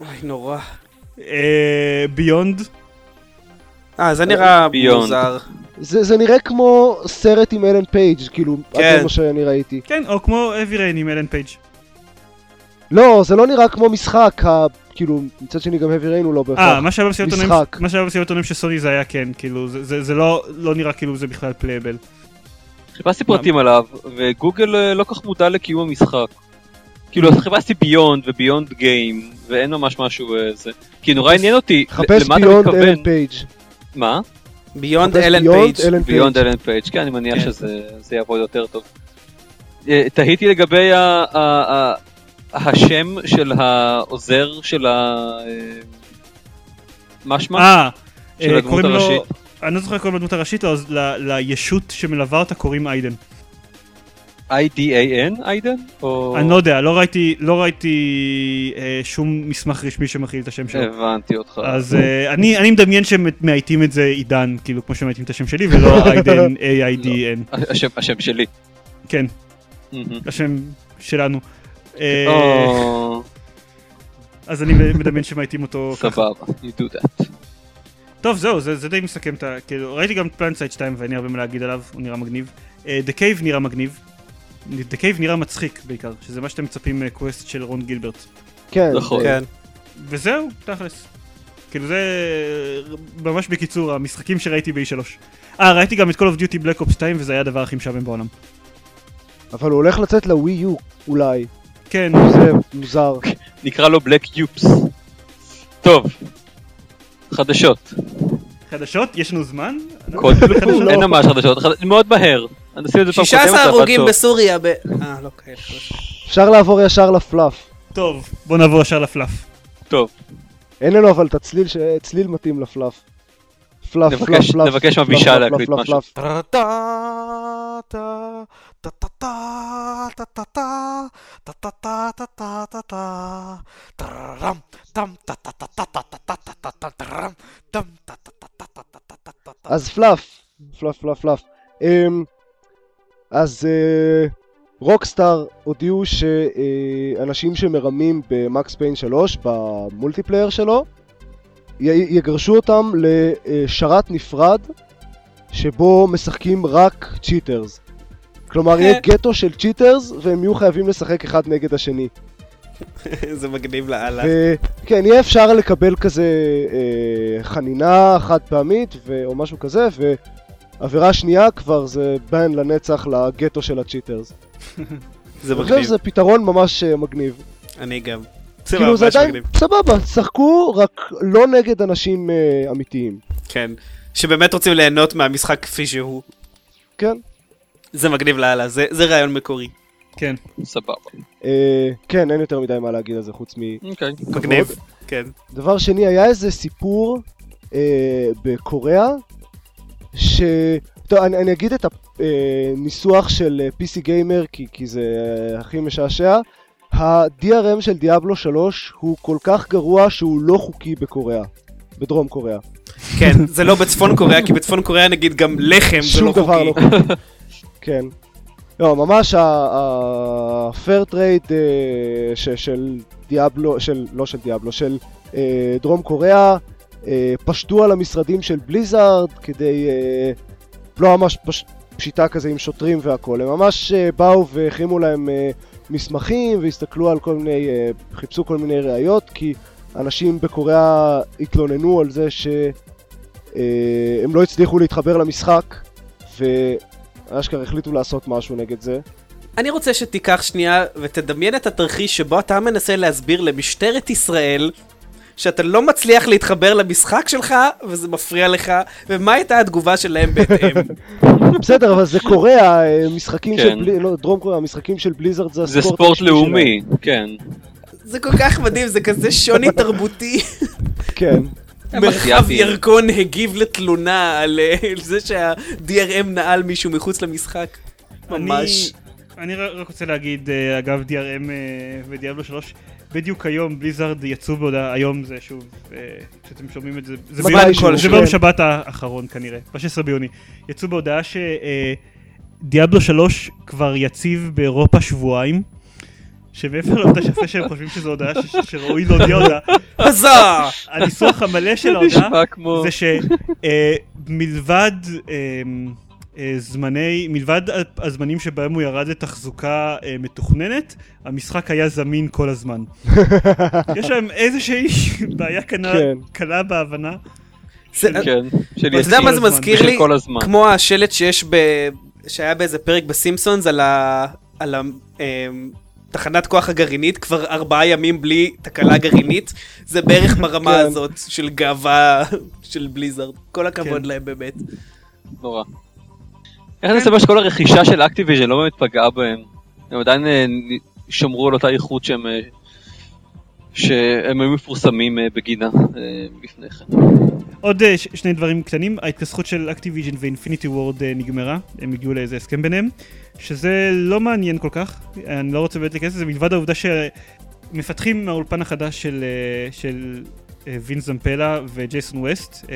[SPEAKER 3] וואי, נורא.
[SPEAKER 1] ביונד,
[SPEAKER 3] אה, זה נראה
[SPEAKER 5] ביונד.
[SPEAKER 3] מוזר.
[SPEAKER 4] זה זה נראה כמו סרט עם אלן פייג' כאילו,
[SPEAKER 3] כן.
[SPEAKER 4] זה מה שאני ראיתי.
[SPEAKER 1] כן, או כמו אבי ריין עם אלן פייג'.
[SPEAKER 4] לא, זה לא נראה כמו משחק, ה- כאילו, מצד שני גם heavy rain הוא לא בהכרח.
[SPEAKER 1] אה, מה שהיה במסיבת עונאים-
[SPEAKER 4] משחק.
[SPEAKER 1] מה שהיה במסיבת עונאים של סוני זה היה כן, כאילו, זה- זה זה לא לא נראה כאילו זה בכלל פלייבל.
[SPEAKER 5] חיפשתי פרטים עליו, וגוגל אה, לא כך מודע לקיום המשחק. כאילו, אז חיפשתי ביונד וביונד גיים, ואין ממש משהו אה, זה. כי נורא עניין אותי, ל-
[SPEAKER 4] חפש
[SPEAKER 5] למה אתה
[SPEAKER 4] ביונד
[SPEAKER 5] מתכוון?
[SPEAKER 4] אלן פייג'.
[SPEAKER 5] מה?
[SPEAKER 3] ביונד
[SPEAKER 4] חפש
[SPEAKER 3] אלן
[SPEAKER 4] ביונד
[SPEAKER 3] פייג'.
[SPEAKER 4] אלן
[SPEAKER 5] ביונד
[SPEAKER 4] פייג'.
[SPEAKER 5] אלן פייג', כן, אני מניח
[SPEAKER 3] כן.
[SPEAKER 5] שזה זה יעבוד יותר טוב. אה, תהיתי לגבי ה- ה- ה- השם של העוזר של ה... אה, מה שמה?
[SPEAKER 1] אה,
[SPEAKER 5] של
[SPEAKER 1] אה,
[SPEAKER 5] הדמות
[SPEAKER 1] קוראים לו-
[SPEAKER 5] הראשית.
[SPEAKER 1] אני לא זוכר קוראים לדמות הראשית, לא, אז ל- לישות שמלווה אותה קוראים איידן.
[SPEAKER 5] IDAN איידן? או...
[SPEAKER 1] אני לא יודע, לא ראיתי, לא ראיתי אה, שום מסמך רשמי שמכיל את השם
[SPEAKER 5] אה,
[SPEAKER 1] שלו.
[SPEAKER 5] הבנתי אותך.
[SPEAKER 1] אז אה, אני אני מדמיין שהם מאייתים את זה עידן, כאילו כמו שמאייתים את השם שלי, ולא איידן, A-I-D-N.
[SPEAKER 5] השם, השם שלי.
[SPEAKER 1] כן,
[SPEAKER 5] מהמם.
[SPEAKER 1] השם שלנו. אה,
[SPEAKER 5] או,
[SPEAKER 1] אז אני מדמיין שמאייתים אותו ככה.
[SPEAKER 5] סבבה, you do that.
[SPEAKER 1] טוב זהו זה, זה די מסכם את ה... כאילו ראיתי גם פלנסייט 2 ואין לי הרבה מה להגיד עליו הוא נראה מגניב. אה, The Cave נראה מגניב. The Cave נראה מצחיק בעיקר שזה מה שאתם מצפים מקווסט של רון גילברט.
[SPEAKER 4] כן.
[SPEAKER 5] נכון.
[SPEAKER 3] כן.
[SPEAKER 1] וזהו תכלס. כאילו זה אה, ממש בקיצור המשחקים שראיתי ב-E3. אה ראיתי גם את Call of Duty Black Ops 2 וזה היה הדבר הכי משעמם בעולם.
[SPEAKER 4] אבל הוא הולך לצאת לווי יו אולי.
[SPEAKER 1] כן
[SPEAKER 4] זה מוזר.
[SPEAKER 5] נקרא לו בלק יופס. טוב, חדשות.
[SPEAKER 1] חדשות יש לנו זמן?
[SPEAKER 5] כל
[SPEAKER 1] חדשות?
[SPEAKER 5] אין ממש חדשות, חד- מאוד מהר. אני אשים את זה פעם קודמת,
[SPEAKER 3] 16
[SPEAKER 5] זה עבד
[SPEAKER 3] הרוגים
[SPEAKER 5] טוב.
[SPEAKER 3] בסוריה ב... אה, לא כאלה.
[SPEAKER 4] אפשר לעבור ישר לפלאף.
[SPEAKER 1] טוב בוא נעבור ישר לפלאף.
[SPEAKER 5] טוב,
[SPEAKER 4] אין לנו אבל את הצליל, ש... צליל מתאים לפלאף. פלאף,
[SPEAKER 5] נבקש-
[SPEAKER 4] פלאף, פלאף.
[SPEAKER 5] נבקש
[SPEAKER 4] פלאף,
[SPEAKER 5] מאבישי
[SPEAKER 4] פלאף,
[SPEAKER 5] להקליט
[SPEAKER 4] פלאף,
[SPEAKER 5] משהו.
[SPEAKER 4] פלאף. אז פלאף. פלאף, פלאף, פלאף. אמ, אז אה, רוקסטאר הודיעו שאנשים שמרמים במקס פיין 3 במולטיפלייר שלו י- יגרשו אותם לשרת נפרד שבו משחקים רק צ'יטרס. כלומר יהיה גטו של צ'יטרס והם יהיו חייבים לשחק אחד נגד השני.
[SPEAKER 3] זה מגניב לאללה.
[SPEAKER 4] וכן, יהיה אפשר לקבל כזה אה, חנינה חד פעמית ו... או משהו כזה, ועבירה שנייה כבר זה בן לנצח לגטו של הצ'יטרס.
[SPEAKER 3] זה
[SPEAKER 4] אני חושב
[SPEAKER 3] מגניב.
[SPEAKER 4] שזה פתרון ממש אה, מגניב.
[SPEAKER 3] אני גם.
[SPEAKER 4] כאילו זה
[SPEAKER 3] ממש
[SPEAKER 4] עדיין,
[SPEAKER 3] מגניב.
[SPEAKER 4] סבבה, שחקו רק לא נגד אנשים אה, אמיתיים.
[SPEAKER 3] כן. שבאמת רוצים ליהנות מהמשחק כפי שהוא.
[SPEAKER 4] כן.
[SPEAKER 3] זה מגניב לאללה, זה זה רעיון מקורי.
[SPEAKER 1] כן.
[SPEAKER 5] סבבה.
[SPEAKER 4] אה, כן, אין יותר מדי מה להגיד על זה חוץ מ...
[SPEAKER 5] אוקיי.
[SPEAKER 3] מגניב. כן.
[SPEAKER 4] דבר שני, היה איזה סיפור אה, בקוריאה, ש... טוב, אני, אני אגיד את הניסוח של אה, PC גיימר, כי, כי זה אה, הכי משעשע. ה-DRM של דיאבלו 3 הוא כל כך גרוע שהוא לא חוקי בקוריאה, בדרום קוריאה.
[SPEAKER 3] כן, זה לא בצפון קוריאה, כי בצפון קוריאה נגיד גם לחם זה לא
[SPEAKER 4] שום דבר לא
[SPEAKER 3] חוקי.
[SPEAKER 4] חוקי. כן. לא, ממש הפייר טרייד אה, של דיאבלו, של, לא של דיאבלו, של אה, דרום קוריאה, אה, פשטו על המשרדים של בליזארד כדי, אה, לא ממש פש- פשיטה כזה עם שוטרים והכול, הם ממש אה, באו והחרימו להם אה, מסמכים והסתכלו על כל מיני, אה, חיפשו כל מיני ראיות, כי אנשים בקוריאה התלוננו על זה שהם אה, הם לא הצליחו להתחבר למשחק. ואשכרה החליטו לעשות משהו נגד זה.
[SPEAKER 3] אני רוצה שתיקח שנייה ותדמיין את התרחיש שבו אתה מנסה להסביר למשטרת ישראל שאתה לא מצליח להתחבר למשחק שלך וזה מפריע לך, ומה הייתה התגובה שלהם בהתאם.
[SPEAKER 4] בסדר, אבל זה קוריאה, אה, משחקים
[SPEAKER 5] כן.
[SPEAKER 4] של בלי... לא, דרום קוריאה, משחקים של בליזרד זה
[SPEAKER 5] זה
[SPEAKER 4] הספורט
[SPEAKER 5] ספורט
[SPEAKER 4] הרשמי שלהם.
[SPEAKER 5] לאומי, כן.
[SPEAKER 3] זה כל כך מדהים, זה כזה שוני תרבותי.
[SPEAKER 4] כן.
[SPEAKER 3] מרחב
[SPEAKER 5] אסיאתי.
[SPEAKER 3] ירקון הגיב לתלונה על אה, זה שה-DRM נעל מישהו מחוץ למשחק. ממש.
[SPEAKER 1] אני, אני ר- רק רוצה להגיד, אה, אגב, DRM אה, ודיאבלו 3, בדיוק היום בליזארד יצאו בהודעה, היום זה שוב, אה, כשאתם שומעים את זה, זה
[SPEAKER 4] מתי
[SPEAKER 1] ביום-
[SPEAKER 4] שהוא,
[SPEAKER 1] זה
[SPEAKER 4] כן.
[SPEAKER 1] ביום שבת האחרון כנראה, ב-16 ביוני, יצאו בהודעה ש... אה, דיאבלו 3 כבר יציב באירופה שבועיים, שמעבר לעובדה שאחרי שהם חושבים שזו הודעה ש- שראוי להודיע אותה,
[SPEAKER 3] עזה!
[SPEAKER 1] הניסוח המלא של ההודעה
[SPEAKER 5] נשמע
[SPEAKER 1] כן, לא,
[SPEAKER 5] כמו...
[SPEAKER 1] זה אה, שמלבד אה, זמני, מלבד הזמנים שבהם הוא ירד לתחזוקה אה, מתוכננת, המשחק היה זמין כל הזמן. יש להם איזושהי בעיה קנה-
[SPEAKER 4] כן.
[SPEAKER 1] קלה בהבנה.
[SPEAKER 3] זה-
[SPEAKER 5] כן. של
[SPEAKER 1] אתה
[SPEAKER 3] אתה יודע
[SPEAKER 5] יציר.
[SPEAKER 3] מה זה
[SPEAKER 1] כל הזמן,
[SPEAKER 3] מזכיר
[SPEAKER 5] של
[SPEAKER 3] לי?
[SPEAKER 5] כל הזמן.
[SPEAKER 3] כמו השלט שיש ב... שהיה באיזה פרק בסימפסונס על ה... על ה... אמ, תחנת כוח הגרעינית כבר ארבעה ימים בלי תקלה גרעינית, זה בערך ברמה
[SPEAKER 4] כן.
[SPEAKER 3] הזאת של גאווה של בליזרד. כל הכבוד
[SPEAKER 1] כן.
[SPEAKER 3] להם באמת.
[SPEAKER 5] נורא. איך זה סבבה שכל הרכישה של אקטיביז'ן לא באמת פגעה בהם? הם עדיין אה, נ- שמרו על אותה איכות שהם אה, שהם היו מפורסמים אה, בגינה אה, לפני כן.
[SPEAKER 1] עוד אה, ש- שני דברים קטנים, ההתכסחות של אקטיביז'ן ואינפיניטי וורד אה, נגמרה, הם הגיעו לאיזה הסכם ביניהם, שזה לא מעניין כל כך, אני לא רוצה באמת להיכנס לזה, מלבד העובדה שמפתחים מהאולפן החדש של, אה, של אה, וין זמפלה וג'ייסון ווסט,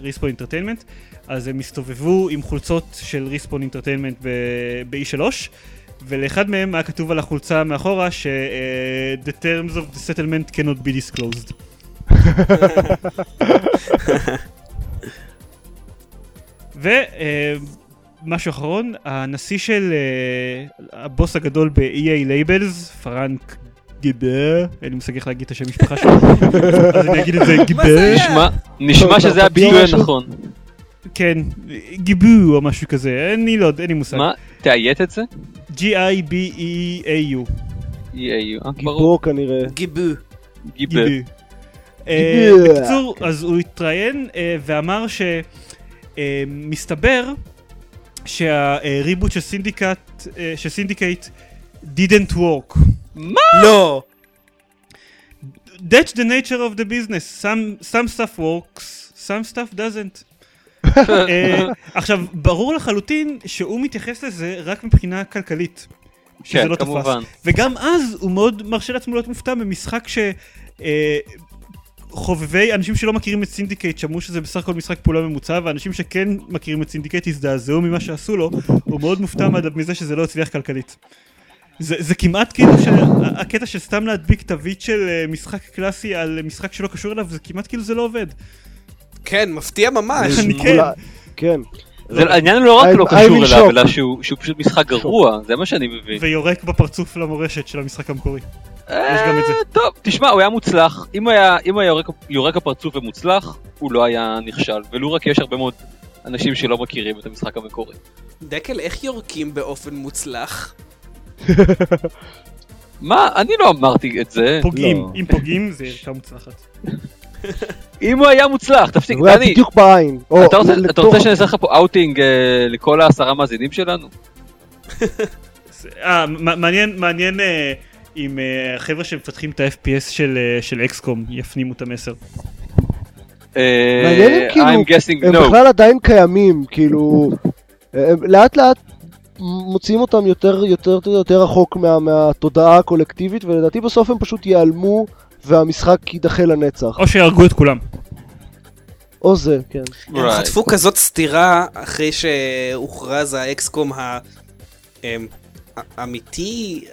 [SPEAKER 1] ריספון אינטרטיינמנט, אז הם הסתובבו עם חולצות של ריספון אינטרטיינמנט ב-E3, ולאחד מהם היה כתוב על החולצה מאחורה ש- אה, The terms of the settlement cannot be disclosed. ומשהו אה, אחרון, הנשיא של אה, הבוס הגדול ב-EA לייבלס, פרנק גיבר, אין לי מושג איך להגיד את השם משפחה שלו, אז אני אגיד את זה גיבר,
[SPEAKER 5] נשמע- נשמע
[SPEAKER 4] טוב,
[SPEAKER 5] שזה
[SPEAKER 4] אתה
[SPEAKER 5] הביטוי
[SPEAKER 4] פתאום משהו?
[SPEAKER 5] הנכון.
[SPEAKER 1] כן, גיבו או משהו כזה, אני לא, יודע, אין לי מושג,
[SPEAKER 5] מה? תאיית את זה?
[SPEAKER 1] E G-I-B-E-A-U,
[SPEAKER 5] EAU, אה, ברור.
[SPEAKER 4] גיבור כנראה.
[SPEAKER 3] גיבו.
[SPEAKER 5] גיבר.
[SPEAKER 1] גיבי. אה,
[SPEAKER 4] גיבי.
[SPEAKER 1] בקיצור, אז הוא התראיין אה, ואמר שמסתבר שהריבוט של סינדיקט, אה, של סינדיקייט didn't work.
[SPEAKER 3] לא!
[SPEAKER 1] That's the nature of the business. Some, some stuff works, some stuff doesn't. אה, עכשיו, ברור לחלוטין שהוא מתייחס לזה רק מבחינה כלכלית. שזה
[SPEAKER 5] כן,
[SPEAKER 1] לא תפס.
[SPEAKER 5] כמובן.
[SPEAKER 1] וגם אז הוא מאוד מרשה לעצמו להיות מופתע ממשחק ש... אה, חובבי, אנשים שלא מכירים את סינדיקייט שמעו שזה בסך הכל משחק פעולה ממוצע, ואנשים שכן מכירים את סינדיקייט הזדעזעו ממה שעשו לו, הוא מאוד מופתע מה- מזה שזה לא הצליח כלכלית. זה, זה כמעט כאילו שהקטע של סתם להדביק תווית של אה, משחק קלאסי על אה, משחק שלא קשור אליו, זה כמעט כאילו זה לא עובד.
[SPEAKER 3] כן, מפתיע ממש.
[SPEAKER 1] אני כן,
[SPEAKER 4] אולי- כן.
[SPEAKER 5] זה- העניין הוא לא רק
[SPEAKER 4] I'm-
[SPEAKER 5] לא
[SPEAKER 4] I'm
[SPEAKER 5] קשור
[SPEAKER 4] in
[SPEAKER 5] אליו,
[SPEAKER 4] shock.
[SPEAKER 5] אלא שהוא שהוא פשוט משחק גרוע, זה מה שאני מבין.
[SPEAKER 1] ויורק בפרצוף למורשת של המשחק המקורי. יש גם את זה.
[SPEAKER 5] אה, טוב, תשמע, הוא היה מוצלח. אם היה, אם היה יורק, יורק הפרצוף ומוצלח, הוא לא היה נכשל. ולו רק יש הרבה מאוד אנשים שלא מכירים את המשחק המקורי.
[SPEAKER 3] דקל, איך יורקים באופן מוצלח?
[SPEAKER 5] מה? אני לא אמרתי את זה.
[SPEAKER 1] פוגעים,
[SPEAKER 4] לא.
[SPEAKER 1] אם פוגעים זה ירקה מוצלחת.
[SPEAKER 5] אם הוא היה מוצלח, תפסיק,
[SPEAKER 4] הוא היה
[SPEAKER 5] אה, דני.
[SPEAKER 4] בדיוק בעין. או,
[SPEAKER 5] אתה רוצה, אתה
[SPEAKER 4] לתוך-
[SPEAKER 5] רוצה שאני אעשה לך פה אאוטינג אה, לכל העשרה מאזינים שלנו?
[SPEAKER 1] אה, מ- מעניין, מעניין אה, אם אה, החבר'ה שמפתחים את ה-FPS של, אה, של אקסקום יפנימו את המסר.
[SPEAKER 5] אה,
[SPEAKER 4] מעניין אם כאילו
[SPEAKER 5] I'm guessing
[SPEAKER 4] הם
[SPEAKER 5] no.
[SPEAKER 4] בכלל עדיין קיימים, כאילו... הם לאט לאט מוציאים אותם יותר יותר יותר רחוק מה, מהתודעה הקולקטיבית, ולדעתי בסוף הם פשוט ייעלמו והמשחק יידחה לנצח.
[SPEAKER 1] או שיהרגו את כולם.
[SPEAKER 4] או זה, כן.
[SPEAKER 3] הם
[SPEAKER 5] Right.
[SPEAKER 3] חטפו כזאת סטירה אחרי שהוכרז האקסקום ה... אמ, האמיתי,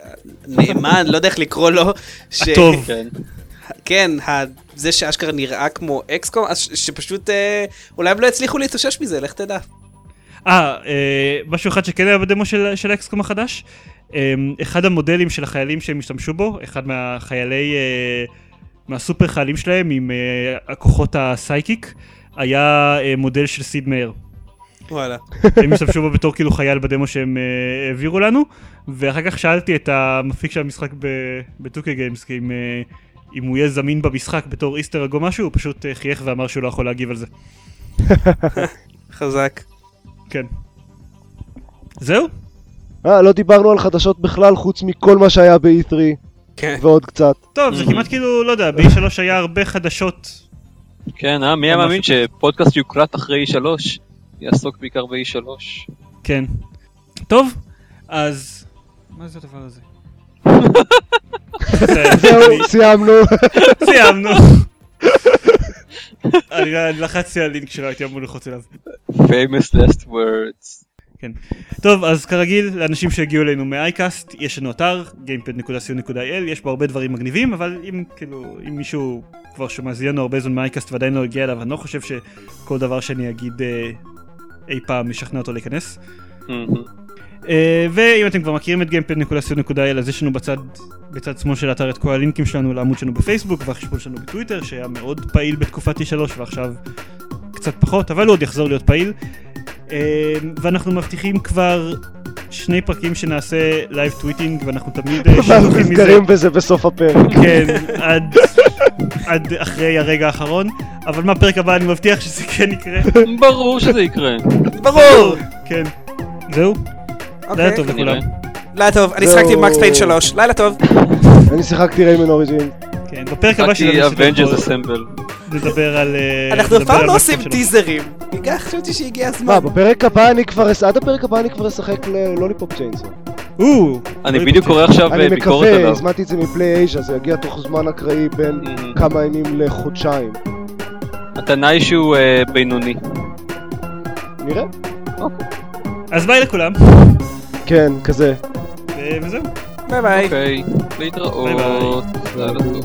[SPEAKER 3] נאמן, לא יודע איך לקרוא לו. ש-
[SPEAKER 1] הטוב.
[SPEAKER 5] כן.
[SPEAKER 3] כן, ה- זה שאשכרה נראה כמו אקסקום, אז ש- שפשוט אה, אולי הם לא יצליחו להתאושש מזה, לך תדע.
[SPEAKER 1] אה, אה, משהו אחד שכן היה בדמו של, של אקסקום החדש, אה, אחד המודלים של החיילים שהם השתמשו בו, אחד מהחיילי, אה, מהסופר חיילים שלהם עם אה, הכוחות הסייקיק, היה אה, מודל של סיד מאיר.
[SPEAKER 3] וואלה.
[SPEAKER 1] הם השתמשו בו בתור כאילו חייל בדמו שהם אה, העבירו לנו, ואחר כך שאלתי את המפיק של המשחק בטוקי גיימס, כי אם, אה, אם הוא יהיה זמין במשחק בתור איסטר אג או משהו, הוא פשוט אה, חייך ואמר שהוא לא יכול להגיב על זה.
[SPEAKER 3] חזק.
[SPEAKER 1] כן. זהו?
[SPEAKER 4] אה, לא דיברנו על חדשות בכלל חוץ מכל מה שהיה E ב-E3
[SPEAKER 3] כן.
[SPEAKER 4] ועוד קצת.
[SPEAKER 1] טוב, זה כמעט כאילו, לא יודע, ב-E3 היה הרבה חדשות.
[SPEAKER 5] כן, אה? מי היה
[SPEAKER 1] ממש
[SPEAKER 5] מאמין
[SPEAKER 1] הטוב.
[SPEAKER 5] שפודקאסט שיוקלט אחרי E3 יעסוק בעיקר ב-E3?
[SPEAKER 1] כן. טוב, אז... מה זה הדבר הזה?
[SPEAKER 4] זהו, סיימנו.
[SPEAKER 1] סיימנו. אני אני לחצתי על לינק שלא הייתי אמור ללחוץ אליו.
[SPEAKER 5] famous last words.
[SPEAKER 1] טוב, אז כרגיל, לאנשים שהגיעו אלינו מאייקאסט, יש לנו אתר, gamepad.co.il, יש בו הרבה דברים מגניבים, אבל אם כאילו, אם מישהו כבר שמאזין לנו הרבה זמן מאייקאסט ועדיין לא הגיע אליו, אני לא חושב שכל דבר שאני אגיד אה, אי פעם משכנע אותו להיכנס.
[SPEAKER 5] מהמם.
[SPEAKER 1] אה, ואם אתם כבר מכירים את gamepad.co.il אז יש לנו בצד, בצד שמאל של האתר את כל הלינקים שלנו לעמוד שלנו בפייסבוק והחשבון שלנו בטוויטר שהיה מאוד פעיל בתקופת E3 ועכשיו קצת פחות אבל הוא עוד יחזור להיות פעיל אה, ואנחנו מבטיחים כבר שני פרקים שנעשה לייב טוויטינג, ואנחנו תמיד אה,
[SPEAKER 4] ואנחנו
[SPEAKER 1] שוכחים מזה.
[SPEAKER 4] נזכרים בזה בסוף הפרק.
[SPEAKER 1] כן, עד, עד אחרי הרגע האחרון, אבל מהפרק הבא אני מבטיח שזה כן יקרה.
[SPEAKER 5] ברור שזה יקרה.
[SPEAKER 6] ברור!
[SPEAKER 1] כן. זהו, זה היה
[SPEAKER 6] אוקיי.
[SPEAKER 1] טוב לכולם.
[SPEAKER 5] כנראה.
[SPEAKER 6] לילה טוב, אני
[SPEAKER 4] זהו.
[SPEAKER 6] שיחקתי עם מקס פיין 3. לילה טוב.
[SPEAKER 1] אה,
[SPEAKER 4] אני שיחקתי ריימן אוריג'ין.
[SPEAKER 1] כן, בפרק הבא
[SPEAKER 5] חכי
[SPEAKER 1] שלנו
[SPEAKER 5] אבנג'רס
[SPEAKER 1] נדבר-
[SPEAKER 5] אסמבל.
[SPEAKER 1] נדבר על... אה,
[SPEAKER 6] אנחנו אף
[SPEAKER 1] נדבר
[SPEAKER 6] פעם
[SPEAKER 1] על
[SPEAKER 6] לא
[SPEAKER 1] מה
[SPEAKER 6] עושים
[SPEAKER 1] שלנו.
[SPEAKER 6] טיזרים. בגלל חשבתי שהגיע הזמן.
[SPEAKER 4] מה, בפרק הבא אני כבר... אס- עד הפרק הבא אני כבר אשחק ללוליפופ צ'יינסו.
[SPEAKER 1] או,
[SPEAKER 5] אני
[SPEAKER 1] לא
[SPEAKER 5] בדיוק קורא עכשיו אה,
[SPEAKER 4] אני
[SPEAKER 5] ביקורת
[SPEAKER 4] מקווה,
[SPEAKER 5] עליו.
[SPEAKER 4] הזמנתי את זה מפליי אייז'ה, זה יגיע תוך זמן אקראי בין
[SPEAKER 5] Mhm.
[SPEAKER 4] כמה ימים לחודשיים.
[SPEAKER 5] הטענה היא שהוא אה, בינוני.
[SPEAKER 4] נראה.
[SPEAKER 1] אז ביי לכולם,
[SPEAKER 4] כן, כזה.
[SPEAKER 1] ו- וזהו.
[SPEAKER 6] ביי ביי.
[SPEAKER 5] אוקיי, להתראות.
[SPEAKER 1] ביי ביי.
[SPEAKER 5] לילה טוב.